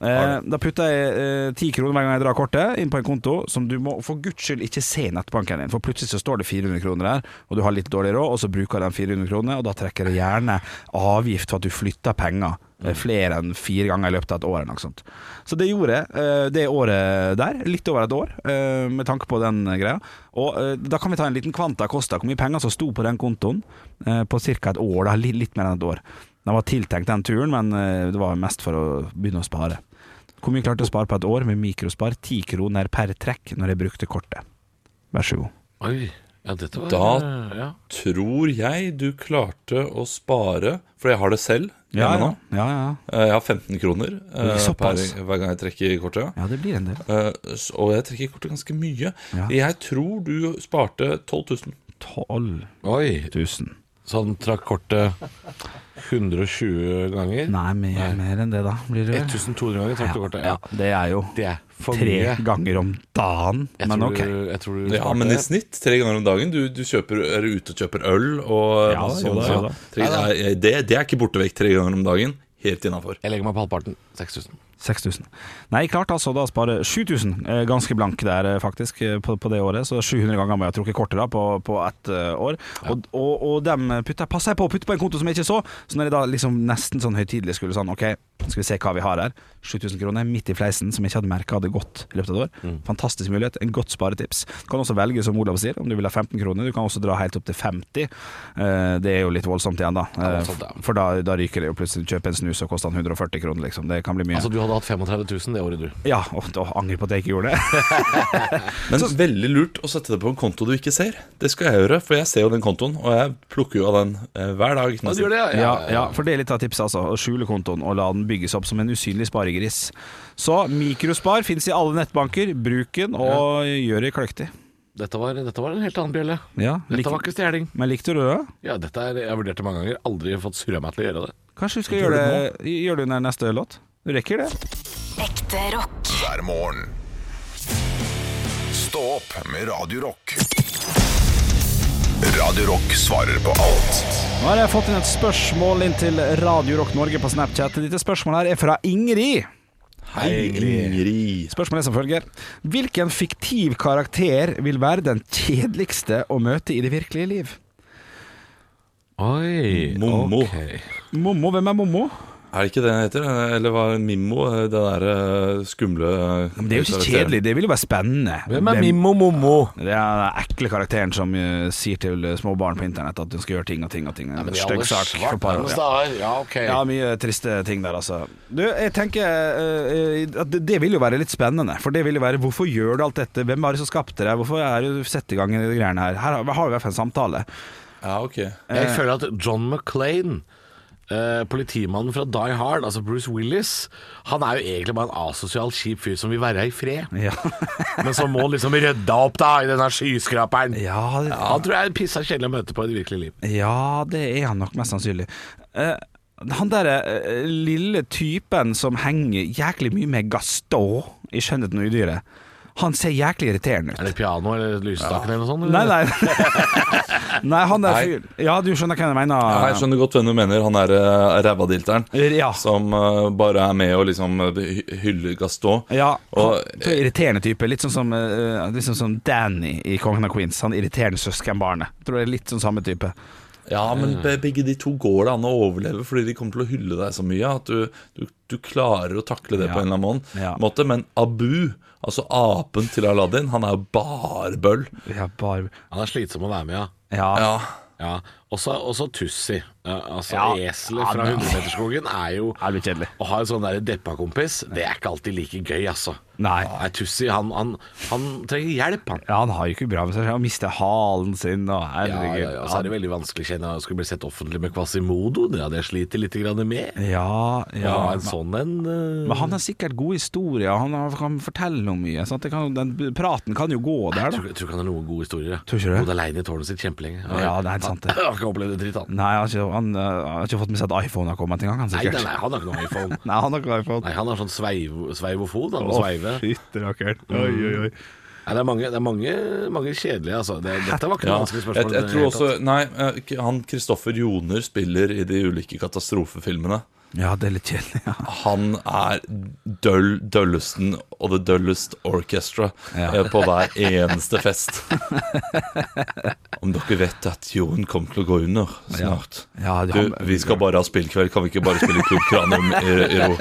[SPEAKER 4] Eh, da putter jeg eh, ti kroner hver gang jeg drar kortet, inn på en konto som du må for guds skyld ikke se i nettbanken din, for plutselig så står det 400 kroner der, og du har litt dårlig råd, og så bruker den 400 kroner, og da trekker det gjerne avgift for at du flytter penger eh, flere enn fire ganger i løpet av et år. eller noe sånt. Så det gjorde jeg eh, det året der, litt over et år, eh, med tanke på den greia. Og eh, da kan vi ta en liten kvanta kosta, hvor mye penger som sto på den kontoen eh, på ca. et år, da, li- litt mer enn et år. Den var tiltenkt den turen, men eh, det var mest for å begynne å spare. Hvor mye klarte jeg å spare på et år med mikrospar? Ti kroner per trekk når jeg brukte kortet. Vær så god.
[SPEAKER 5] Oi. Ja, dette var
[SPEAKER 6] Da-
[SPEAKER 5] ja.
[SPEAKER 6] Tror jeg du klarte å spare, for jeg har det selv hjemme nå.
[SPEAKER 4] ja, ja.
[SPEAKER 6] Eh, Jeg har 15 kroner eh, per,
[SPEAKER 4] Såpass.
[SPEAKER 6] hver gang jeg trekker kortet.
[SPEAKER 4] ja det blir en del.
[SPEAKER 6] Eh, s- Og jeg trekker kortet ganske mye.
[SPEAKER 4] Ja.
[SPEAKER 6] Jeg tror du sparte 12 000.
[SPEAKER 4] 12
[SPEAKER 5] Oi.
[SPEAKER 4] 000.
[SPEAKER 5] Så han trakk kortet 120 ganger?
[SPEAKER 4] Nei, mer, mer enn det, da. Blir det vel?
[SPEAKER 5] 1200 ganger trakk du kortet? Ja.
[SPEAKER 4] Det er jo
[SPEAKER 5] Det er for
[SPEAKER 4] tre
[SPEAKER 5] mye.
[SPEAKER 4] ganger om dagen,
[SPEAKER 5] Jeg
[SPEAKER 4] men
[SPEAKER 5] tror
[SPEAKER 4] ok.
[SPEAKER 5] du- jeg tror du
[SPEAKER 6] Ja,
[SPEAKER 5] sparte-
[SPEAKER 6] men i snitt tre ganger om dagen. Du, du kjøper, er ute og kjøper øl og
[SPEAKER 4] Ja,
[SPEAKER 6] og
[SPEAKER 4] jo da, jo da.
[SPEAKER 6] Tre, nei, det, det er ikke borte vekk tre ganger om dagen. Helt innafor.
[SPEAKER 5] Jeg legger meg på halvparten. 6000.
[SPEAKER 4] 6000. Nei, klart altså da å spare 7000. Eh, ganske blank der, eh, faktisk, eh, på, på det året. Så 700 ganger må jeg ha trukket kortet da på, på ett eh, år. Og, og, og dem putta, passa jeg på å putte på en konto som jeg ikke så. Så når jeg da liksom nesten sånn høytidelig skulle sånn Ok, skal vi se hva vi har her. 7000 kroner midt i fleisen som jeg ikke hadde merka hadde gått i løpet av et år.
[SPEAKER 5] Mm.
[SPEAKER 4] Fantastisk mulighet. En godt sparetips. Du kan også velge, som Olav sier, om du vil ha 15 kroner. Du kan også dra helt opp til 50. Eh, det er jo litt voldsomt igjen, da. Eh,
[SPEAKER 5] voldsomt, ja.
[SPEAKER 4] For da, da ryker det jo plutselig. Kjøpe en snus og koste han 140 kroner, liksom. Det kan bli mye.
[SPEAKER 5] Altså, du hadde hatt 35 000 det året, du.
[SPEAKER 4] Ja, og da angrer jeg på at jeg ikke gjorde det.
[SPEAKER 6] Men veldig lurt å sette det på en konto du ikke ser. Det skal jeg gjøre, for jeg ser jo den kontoen, og jeg plukker jo av den eh, hver dag.
[SPEAKER 5] Ja,
[SPEAKER 6] nesten.
[SPEAKER 5] du gjør det,
[SPEAKER 4] Ja, ja, for det er litt av tipset, altså. Å skjule kontoen og la den bygges opp som en usynlig sparegris. Så mikrospar fins i alle nettbanker. Bruk den, og gjør det kløktig.
[SPEAKER 5] Dette, var, dette var en helt annen bjelle.
[SPEAKER 4] Ja, lik,
[SPEAKER 5] Dette var ikke stjeling.
[SPEAKER 4] men likte du det?
[SPEAKER 5] Ja, dette er, jeg har vurdert det mange ganger. Aldri fått surra meg til å gjøre det.
[SPEAKER 4] Kanskje du skal gjøre det, gjør det under neste låt? Du rekker det.
[SPEAKER 2] Ekte rock.
[SPEAKER 1] hver morgen. Stå opp med Radio Rock. Radio Rock svarer på alt.
[SPEAKER 4] Nå har jeg fått inn et spørsmål inn til Radio Rock Norge på Snapchat. Dette spørsmålet her er fra Ingrid.
[SPEAKER 6] Hei, Ingrid.
[SPEAKER 4] Spørsmålet er som følger. Hvilken fiktiv karakter vil være den kjedeligste å møte i det virkelige liv?
[SPEAKER 5] Oi.
[SPEAKER 6] Mommo.
[SPEAKER 4] Mommo, hvem er Mommo?
[SPEAKER 6] Er det ikke det den heter? Eller var det Mimmo? eh, Det derre skumle
[SPEAKER 4] Men det er jo ikke kjedelig, det vil jo være spennende.
[SPEAKER 5] Hvem er Mimmo Mommo?
[SPEAKER 4] Det er den ekle karakteren som eh, sier til eh, små barn på internett at hun skal gjøre ting og ting og ting. En stygg sak. for par år, ja.
[SPEAKER 5] Ja, ok.
[SPEAKER 4] ja, mye triste ting der, altså. Du, jeg tenker eh, eh, at det- det vil jo være litt spennende. For det vil jo være hvorfor gjør du alt dette, hvem var det som skapte det, hvorfor er du sett i gang i de greiene her. Her har har vi i hvert fall en samtale.
[SPEAKER 6] Ja, ok.
[SPEAKER 5] Jeg føler at John McClane eh, politimannen fra Die Hard, altså Bruce Willis, han er jo egentlig bare en asosial, kjip fyr som vil være i fred.
[SPEAKER 4] Ja,
[SPEAKER 5] Men som må liksom rydde opp, da, i denne skyskraperen.
[SPEAKER 4] ja,
[SPEAKER 5] Ja, Han tror jeg er pissa kjedelig å møte på i det virkelige liv.
[SPEAKER 4] Ja, det er han nok mest sannsynlig. Eh, han derre eh, lille typen som henger jæklig mye med Gaston i 'Skjønnheten og udyret', han ser jæklig irriterende
[SPEAKER 5] Er
[SPEAKER 4] ut.
[SPEAKER 5] det piano eller lysestaken eller noe sånt?
[SPEAKER 4] Nei,
[SPEAKER 5] eller?
[SPEAKER 4] nei. nei, han der fyren Ja, du skjønner hva jeg mener?
[SPEAKER 6] Ja, jeg skjønner godt hvem du mener. Han er uh, rævadilteren.
[SPEAKER 4] Ja.
[SPEAKER 6] Som eh, bare er med og liksom eh, hy- hyller Gaston.
[SPEAKER 4] Ja,
[SPEAKER 6] Og-
[SPEAKER 4] han- så irriterende type. Litt sånn som, eh, litt sånn som Danny i 'Kongen av Queens'. Han irriterende søskenbarnet. Tror det er litt sånn samme type.
[SPEAKER 6] Ja, men be- begge de to går det an å overleve, fordi de kommer til å hylle deg så mye at du, du, du klarer å takle det
[SPEAKER 4] Ja.
[SPEAKER 6] på en eller annen måte.
[SPEAKER 4] Ja.
[SPEAKER 6] måte. Men Abu, altså apen til Aladdin, han er jo barbøll.
[SPEAKER 4] Ja, bare
[SPEAKER 5] Han er slitsom å være med, ja.
[SPEAKER 4] Ja.
[SPEAKER 6] Ja.
[SPEAKER 5] ja. Også, også Tussi. Ja, altså
[SPEAKER 4] Ja.
[SPEAKER 5] eselet fra
[SPEAKER 4] Ja, men-
[SPEAKER 5] 100-meterskogen er jo
[SPEAKER 4] Er litt kjedelig.
[SPEAKER 5] Å ha en sånn der deppa kompis, det er ikke alltid like gøy, altså.
[SPEAKER 4] Nei.
[SPEAKER 5] Nei, Tussi, han, han, han trenger hjelp, han.
[SPEAKER 4] Ja, han har jo ikke bra med seg. Han mister halen sin og
[SPEAKER 5] Ja,
[SPEAKER 4] herregud.
[SPEAKER 5] ja, ja, så er det veldig vanskelig kjenne å skulle bli sett offentlig med Quasimodo. Det hadde jeg slitt litt grann med.
[SPEAKER 4] Ja, ja.
[SPEAKER 5] Ja, en sånn en eh,
[SPEAKER 4] Men han har sikkert gode historier, han har- kan fortelle om mye. Sant? Det kan, den praten kan jo gå der,
[SPEAKER 5] jeg
[SPEAKER 4] da.
[SPEAKER 5] tror, jeg tror ikke han har noen gode historier. jeg.
[SPEAKER 4] Tror ikke det?
[SPEAKER 5] Bodde aleine i tårnet sitt kjempelenge.
[SPEAKER 4] Ja, det er helt sant, det.
[SPEAKER 5] Han ikke ha opplevd det dritt, han.
[SPEAKER 4] Nei, han har, ikke, han, eh, har ikke fått med seg at iPhone har kommet engang, han
[SPEAKER 5] Nei,
[SPEAKER 4] sikkert.
[SPEAKER 5] nei, nei, han har ikke noe iPhone.
[SPEAKER 4] Nei, han har ikke iPhone.
[SPEAKER 5] Nei, han har sånn sveiv, sveivofon, han må sveive.
[SPEAKER 4] Fytterakker'n.
[SPEAKER 5] Mm.
[SPEAKER 4] Oi, oi, oi.
[SPEAKER 5] Nei, det er mange, det er mange, mange kjedelige, altså. Det, dette var ikke noe
[SPEAKER 6] Ja,
[SPEAKER 5] vanskelig
[SPEAKER 6] jeg,
[SPEAKER 5] spørsmål.
[SPEAKER 6] jeg tror også Nei, eh, ikke- han Kristoffer Joner spiller i de ulike katastrofefilmene.
[SPEAKER 4] Ja, det er litt kjedelig. Ja.
[SPEAKER 6] Han er døll, døllesten og the døllest orchestra eh, på hver eneste fest. Om dere vet at jorden kommer til å gå under snart
[SPEAKER 4] Ja,
[SPEAKER 6] Du,
[SPEAKER 4] han-
[SPEAKER 6] vi skal bare ha spillkveld, kan vi ikke bare spille Klubb Kranum i, i ro?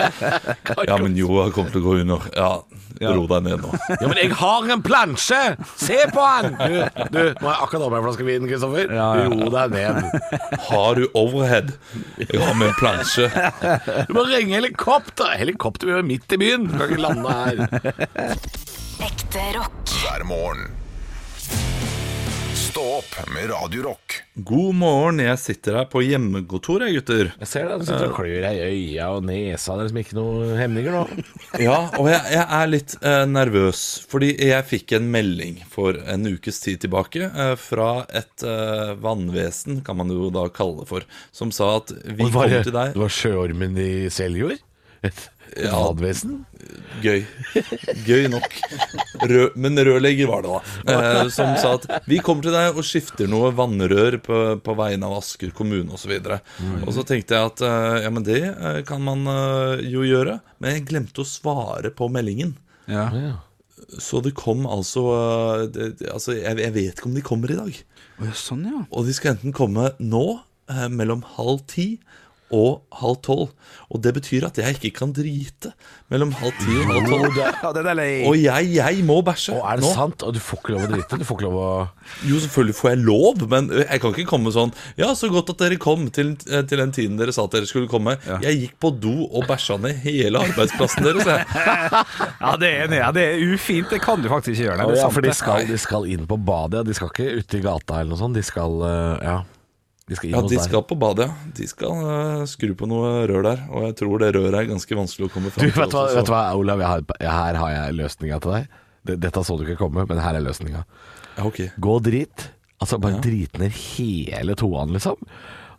[SPEAKER 6] Ja, men jorda kommer til å gå under. Ja, ro deg ned nå.
[SPEAKER 5] Ja, men jeg har en plansje! Se på han! Du, du nå har jeg akkurat åpnet en flaske vin, Kristoffer. Ro deg ned.
[SPEAKER 6] Har du overhead? Jeg har med en plansje.
[SPEAKER 5] Du må ringe helikopter! Helikopter vi er jo midt i byen. Du kan ikke lande her.
[SPEAKER 2] Ekte rock.
[SPEAKER 1] hver morgen. Stå opp med Radio Rock.
[SPEAKER 6] God morgen, jeg sitter her på hjemmekontor, jeg, gutter.
[SPEAKER 5] Jeg ser deg, du sitter og klør deg i øya og nesa. Det er liksom ikke noen hemninger nå.
[SPEAKER 6] Ja, og jeg, jeg er litt eh, nervøs, fordi jeg fikk en melding for en ukes tid tilbake eh, fra et eh, vannvesen, kan man jo da kalle det for, som sa at vi
[SPEAKER 5] var,
[SPEAKER 6] kommer til deg.
[SPEAKER 5] det var sjøormen i Seljord? Et et
[SPEAKER 6] Ja.
[SPEAKER 5] advesen?
[SPEAKER 6] Gøy. Gøy nok. Rø men rørlegger var det, da. Eh, som sa at vi kommer til deg og skifter noe vannrør på, på vegne av Asker kommune osv. Og, mm. og så tenkte jeg at eh, ja, men det eh, kan man eh, jo gjøre. Men jeg glemte å svare på meldingen.
[SPEAKER 4] Ja.
[SPEAKER 6] Så det kom altså, eh, det, det- altså jeg, jeg vet ikke om de kommer i dag.
[SPEAKER 4] Å, ja, sånn, ja.
[SPEAKER 6] Og de skal enten komme nå eh, mellom halv ti og halv tolv. Og det betyr at jeg ikke kan drite mellom halv ti og halv tolv.
[SPEAKER 4] ja det er deilig.
[SPEAKER 6] Og jeg, jeg må bæsje
[SPEAKER 5] Og er det
[SPEAKER 6] nå.
[SPEAKER 5] sant? Og du får ikke lov å drite? Du får ikke lov å
[SPEAKER 6] Jo, selvfølgelig får jeg lov, men jeg kan ikke komme sånn Ja, så godt at dere kom til, til den tiden dere sa at dere skulle komme. Jeg gikk på do og bæsja ned hele arbeidsplassen deres. Jeg.
[SPEAKER 4] Ja, det er enig. Ja, det er ufint. Det kan du faktisk ikke gjøre. Nei,
[SPEAKER 5] Ja,
[SPEAKER 4] det er
[SPEAKER 5] ja,
[SPEAKER 4] sant,
[SPEAKER 5] for de
[SPEAKER 4] det.
[SPEAKER 5] skal, de skal inn på badet, ja. De skal ikke ute i gata eller noe sånt. De skal eh, Ja. De skal inn
[SPEAKER 6] Ja,
[SPEAKER 5] hos
[SPEAKER 6] de
[SPEAKER 5] deg.
[SPEAKER 6] skal på badet, ja. De skal eh, skru på noe rør der. Og jeg tror det røret er ganske vanskelig å komme
[SPEAKER 5] Du,
[SPEAKER 6] fram til.
[SPEAKER 5] vet du hva,
[SPEAKER 6] også, så-
[SPEAKER 5] vet du hva Olav? Jeg har, her har jeg løsninga til deg. Det- Dette så du ikke komme, men her er løsninga.
[SPEAKER 6] Ja, ok.
[SPEAKER 5] Gå og drit. Altså, bare drit ned hele toan, liksom.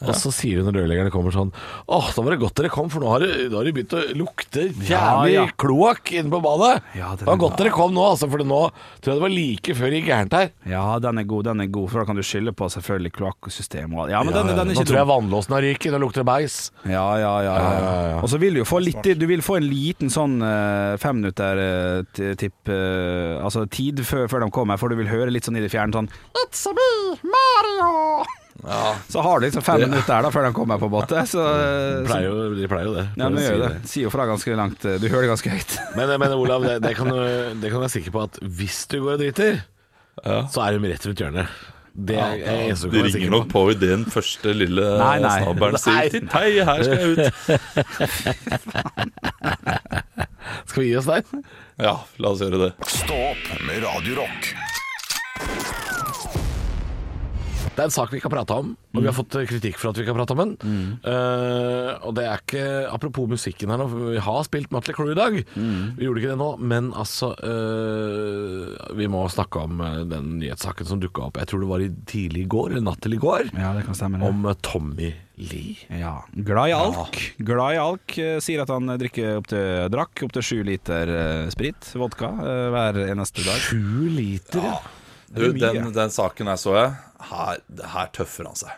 [SPEAKER 5] Og så sier hun når rørleggerne kommer sånn Åh, da var det godt dere kom, for nå har det, da har det begynt å lukte jævlig
[SPEAKER 4] ja.
[SPEAKER 5] kloakk inne på badet.
[SPEAKER 4] Ja,
[SPEAKER 5] det
[SPEAKER 4] den
[SPEAKER 5] var
[SPEAKER 4] er
[SPEAKER 5] godt dere kom nå, altså, for nå tror jeg det var like før det gikk gærent her.
[SPEAKER 4] Ja, den er god, den er god. For da kan du skylde på selvfølgelig kloakksystemet og alt. Ja, men den, er- den er
[SPEAKER 5] nå
[SPEAKER 4] ikke
[SPEAKER 5] tror jeg
[SPEAKER 4] dum.
[SPEAKER 5] vannlåsen har ryket, nå lukter det beis.
[SPEAKER 4] Ja, ja, ja. ja, ja. Og så vil du jo få litt Du vil få en liten sånn eh, uh, femminutter-tipp Altså tid før, før de kommer, for du vil høre litt sånn i det fjerne sånn It's a me, Mario! Så har du liksom fem
[SPEAKER 6] Det-
[SPEAKER 4] minutter her da før de kommer på båtet. Så,
[SPEAKER 5] De
[SPEAKER 4] eh, så
[SPEAKER 5] pleier jo, de pleier jo det.
[SPEAKER 4] ja, men
[SPEAKER 5] Pleier å si
[SPEAKER 4] gjør det. Sier jo fra ganske langt. eh, Du hører det ganske høyt.
[SPEAKER 5] Men, men Olav, det, det, kan du, det kan du være sikker på at hvis du går og driter, så er hun rett rundt hjørnet. Det er det eneste du kan
[SPEAKER 6] De
[SPEAKER 5] være
[SPEAKER 6] ringer
[SPEAKER 5] sikker
[SPEAKER 6] nok
[SPEAKER 5] på.
[SPEAKER 6] på i den første lille
[SPEAKER 4] Nei, nei.
[SPEAKER 6] snabelen sier
[SPEAKER 5] Nei.
[SPEAKER 6] titt, hei, her skal jeg ut.
[SPEAKER 5] Skal vi gi oss der?
[SPEAKER 6] Ja, la oss gjøre det.
[SPEAKER 1] Stå opp med Radio Rock
[SPEAKER 5] Det er en sak vi ikke har prata om, og vi har fått kritikk for at vi ikke har prata om den. Eh, og det er ikke Apropos musikken her nå, for vi har spilt Mutley Crew i dag. Vi gjorde ikke det nå, men altså eh, Vi må snakke om eh, den nyhetssaken som dukka opp. Jeg tror det var i tidlig i går, eller natt til i går,
[SPEAKER 4] Ja, det kan stemme.
[SPEAKER 5] om eh, Tommy Lee.
[SPEAKER 4] Ja. Glad i alk. Glad i alk eh, sier at han drikker opp til, drakk opptil sju liter eh, sprit, vodka, eh, hver eneste dag.
[SPEAKER 5] Sju liter, ja.
[SPEAKER 6] Du, den, den saken her så jeg. Her, her tøffer han seg.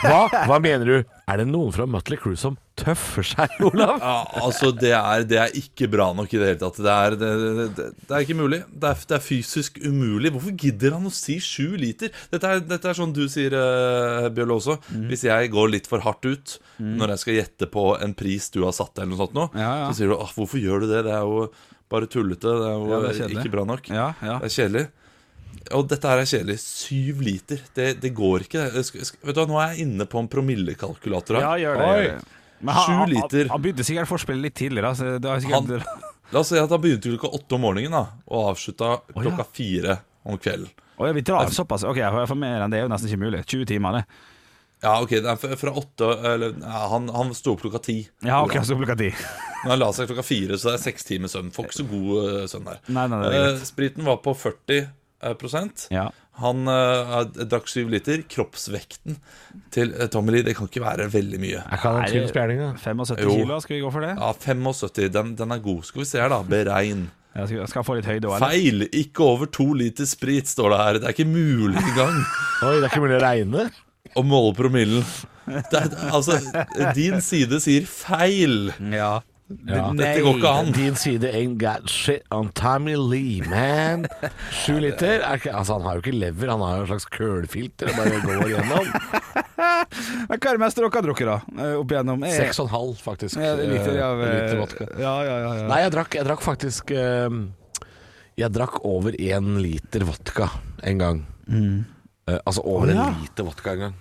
[SPEAKER 5] Hva, hva mener du? Er det noen fra Mutley Crew som tøffer seg, Olav?
[SPEAKER 6] Ja, altså det er, det er ikke bra nok i det hele tatt. Det er, det, det, det, det er ikke mulig. Det er, det er fysisk umulig. Hvorfor gidder han å si sju liter? Dette er, dette er sånn du sier, uh, Bjørlo også. Hvis jeg går litt for hardt ut når jeg skal gjette på en pris du har satt deg, eller noe sånt nå,
[SPEAKER 4] Ja, ja.
[SPEAKER 6] så sier du «Åh, hvorfor gjør du det? Det er jo bare tullete. Det er jo
[SPEAKER 4] Ja, det er kjedelig.
[SPEAKER 6] ikke bra nok.
[SPEAKER 4] Ja, ja.
[SPEAKER 6] Det er kjedelig. Og dette her er kjedelig. Syv liter. Det, det går ikke. Jeg skal- jeg skal- Vet du hva, Nå er jeg inne på en promillekalkulator. her. Oi.
[SPEAKER 4] Men han-
[SPEAKER 6] Sju
[SPEAKER 4] han-
[SPEAKER 6] liter.
[SPEAKER 4] Han begynte sikkert forspillet litt tidligere. Så det har
[SPEAKER 6] Han,
[SPEAKER 4] sikkert,
[SPEAKER 6] la oss si at han begynte klokka åtte om morgenen da og avslutta klokka fire om kvelden.
[SPEAKER 4] Å, ja, vi drar såpass. Ok, for for mer enn det er jo nesten ikke mulig. 20 timer, det.
[SPEAKER 6] Ja, ok, det er fra- fra åtte eller, ja, Han, han sto opp klokka ti.
[SPEAKER 4] Ja, ok, så klokka ti.
[SPEAKER 6] Men han la seg klokka fire, så det er seks timer søvn. Får ikke så god eh, søvn der.
[SPEAKER 4] Nei, nei, det er greit.
[SPEAKER 6] Eh, spriten var på 40 eh, prosent.
[SPEAKER 4] Ja.
[SPEAKER 6] Han eh, drakk syv liter. Kroppsvekten til eh, Tommy Lee, det kan ikke være veldig mye.
[SPEAKER 5] Er ikke han en
[SPEAKER 4] Nei,
[SPEAKER 5] chill
[SPEAKER 4] det-
[SPEAKER 5] spjerning, da?
[SPEAKER 4] 75
[SPEAKER 6] Jo.
[SPEAKER 4] kilo, skal vi gå for det?
[SPEAKER 6] Ja, 75, den, den er god. Skal vi se her, da. Beregn.
[SPEAKER 4] Jeg skal, skal få litt høyde òg, eller?
[SPEAKER 6] Feil! Ikke over to liter sprit, står det her. Det er ikke mulig engang
[SPEAKER 5] Oi, det er ikke mulig å regne?
[SPEAKER 6] å måle promillen. Det er, altså, din side sier feil.
[SPEAKER 4] Ja.
[SPEAKER 6] Dette går ikke an.
[SPEAKER 5] Din side ain't got shit on Tommy Lee, man. Sju liter? Er ikke, altså, han har jo ikke lever, han har jo en slags kølfilter og bare går gjennom.
[SPEAKER 4] Men hva er det meste dere har drukket, da? Eh, Opp igjennom? Eh,
[SPEAKER 5] Seks og en halv, faktisk.
[SPEAKER 4] eh, liter av eh,
[SPEAKER 5] Liter vodka.
[SPEAKER 4] Ja, ja, ja. ja.
[SPEAKER 5] Nei, jeg drakk, jeg drakk faktisk eh, Jeg drakk over én liter vodka en gang.
[SPEAKER 4] Mm.
[SPEAKER 5] Eh, altså over
[SPEAKER 4] Å, ja.
[SPEAKER 5] en liter vodka en gang.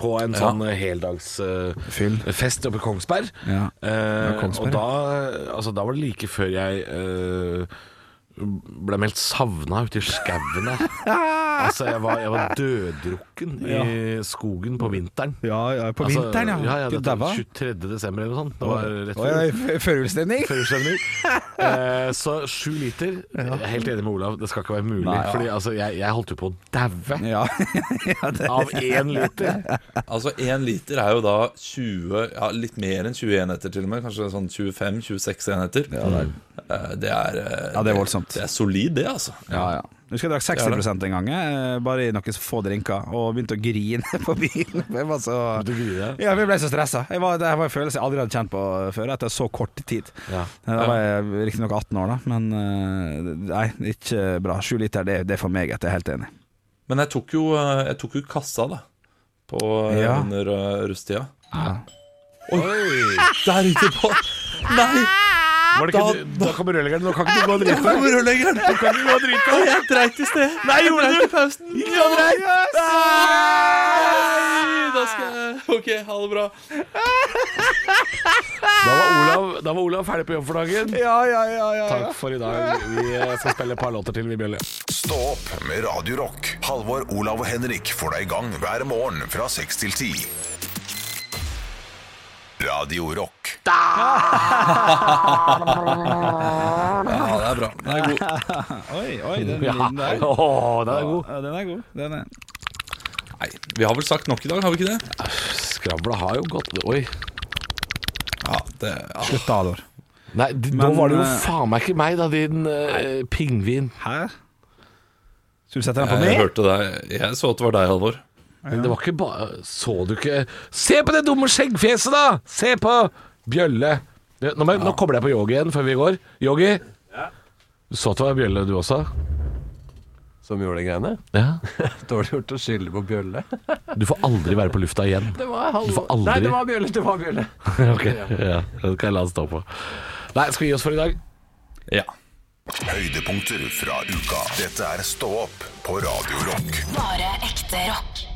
[SPEAKER 5] På en sånn eh, heldags eh,
[SPEAKER 4] Fyll.
[SPEAKER 5] fest oppe i Kongsberg.
[SPEAKER 4] Ja.
[SPEAKER 5] Eh,
[SPEAKER 4] Kongsberg,
[SPEAKER 5] og da, altså, da var det like før jeg eh, ble meldt savna ute i skauen der. altså, jeg var, jeg var døddrukken i skogen på vinteren.
[SPEAKER 4] Ja, ja, på
[SPEAKER 5] Altså,
[SPEAKER 4] vinteren, ja.
[SPEAKER 5] ja, ja
[SPEAKER 4] du
[SPEAKER 5] det var
[SPEAKER 4] daua.
[SPEAKER 5] 23. desember eller noe sånt. Det var
[SPEAKER 4] Å,
[SPEAKER 5] rett før.
[SPEAKER 4] ja, f- Førjulsstemning?
[SPEAKER 5] Førjulsstemning. Eh, så sju liter. Jeg er Helt enig med Olav, det skal ikke være mulig.
[SPEAKER 4] Nei, ja.
[SPEAKER 5] Fordi altså, jeg, jeg holdt jo på å daue
[SPEAKER 4] Ja.
[SPEAKER 5] av én liter.
[SPEAKER 6] Altså, én liter er jo da 20 Ja, litt mer enn 20 enheter, til og med. Kanskje sånn 25-26 enheter. Eh, det er eh,
[SPEAKER 4] Ja, det er voldsomt.
[SPEAKER 6] Det er solid, det, altså.
[SPEAKER 4] ja, ja. Jeg husker jeg drakk 60 en gang, eh, bare i noen få drinker, og begynte å grine på bilen. Jeg var så
[SPEAKER 5] Du griner.
[SPEAKER 4] ja, vi ble så stressa. Jeg var, det her var en følelse jeg aldri hadde kjent på før, etter så kort tid.
[SPEAKER 5] Ja.
[SPEAKER 4] Da var jeg riktignok 18 år, da, men eh, nei, ikke bra. Sju liter, det, det er for meg, jeg er helt enig.
[SPEAKER 6] Men jeg tok jo, eh, jeg tok jo kassa, da. På, eh,
[SPEAKER 4] Ja.
[SPEAKER 6] Under eh, rusttida.
[SPEAKER 5] Oi.
[SPEAKER 6] Der gikk det på! Nei!
[SPEAKER 5] Var det ikke, du- da kom rørleggeren. Nå kan ikke du gå og drite deg.
[SPEAKER 6] rørleggeren!
[SPEAKER 5] Nå kan du gå og drite deg.
[SPEAKER 6] Jeg dreit i sted.
[SPEAKER 5] Nei, gjorde du? Gikk det andre veien?
[SPEAKER 6] Nei, Da skal jeg OK, ha det bra.
[SPEAKER 5] Da var Olav, da var Olav ferdig på jobb for dagen.
[SPEAKER 4] Ja, ja, ja, ja.
[SPEAKER 5] Takk for i dag. Vi eh, skal spille et par låter til, vi, Bjølle.
[SPEAKER 1] Stå opp med Radio Rock. Halvor, Olav og Henrik får deg i gang hver morgen fra 6 til 10. Radio Rock.
[SPEAKER 6] Ja, det er bra. Den er god.
[SPEAKER 4] Oi, oi, den,
[SPEAKER 5] Ja.
[SPEAKER 4] lyden der.
[SPEAKER 5] Å, den er god.
[SPEAKER 4] Ja, den er god. Den er.
[SPEAKER 6] Nei, vi har vel sagt nok i dag, har vi ikke det?
[SPEAKER 5] Skravla har jo gått Oi.
[SPEAKER 6] Ja, det ja.
[SPEAKER 4] Slutt, da, Ador.
[SPEAKER 5] Nei, d-
[SPEAKER 4] Men,
[SPEAKER 5] nå var det jo
[SPEAKER 4] eh,
[SPEAKER 5] faen meg ikke meg, da, din eh, pingvin.
[SPEAKER 4] Hæ? Skal du sette den på
[SPEAKER 6] Jeg
[SPEAKER 4] meg?
[SPEAKER 6] hørte deg. Jeg så at det var deg, Halvor.
[SPEAKER 5] Men det var ikke bare Så du ikke Se på det dumme skjeggfjeset, da! Se på Bjølle. Det- Nå, må jeg- nå kobler jeg på Yogi igjen før vi går. Yogi. Du så at det var Bjølle, du også?
[SPEAKER 3] Som gjorde de greiene?
[SPEAKER 5] Ja.
[SPEAKER 3] Dårlig gjort å skylde på Bjølle.
[SPEAKER 5] Du får aldri være på lufta igjen.
[SPEAKER 3] Det var halv...
[SPEAKER 5] Du får aldri-
[SPEAKER 3] Nei, det var Bjølle, det var Bjølle.
[SPEAKER 5] ok, ja. Det kan jeg la den stå på. Nei, skal vi gi oss for i dag?
[SPEAKER 6] Ja.
[SPEAKER 1] Høydepunkter fra uka. Dette er Stå opp på Radio Rock.
[SPEAKER 2] Bare ekte rock.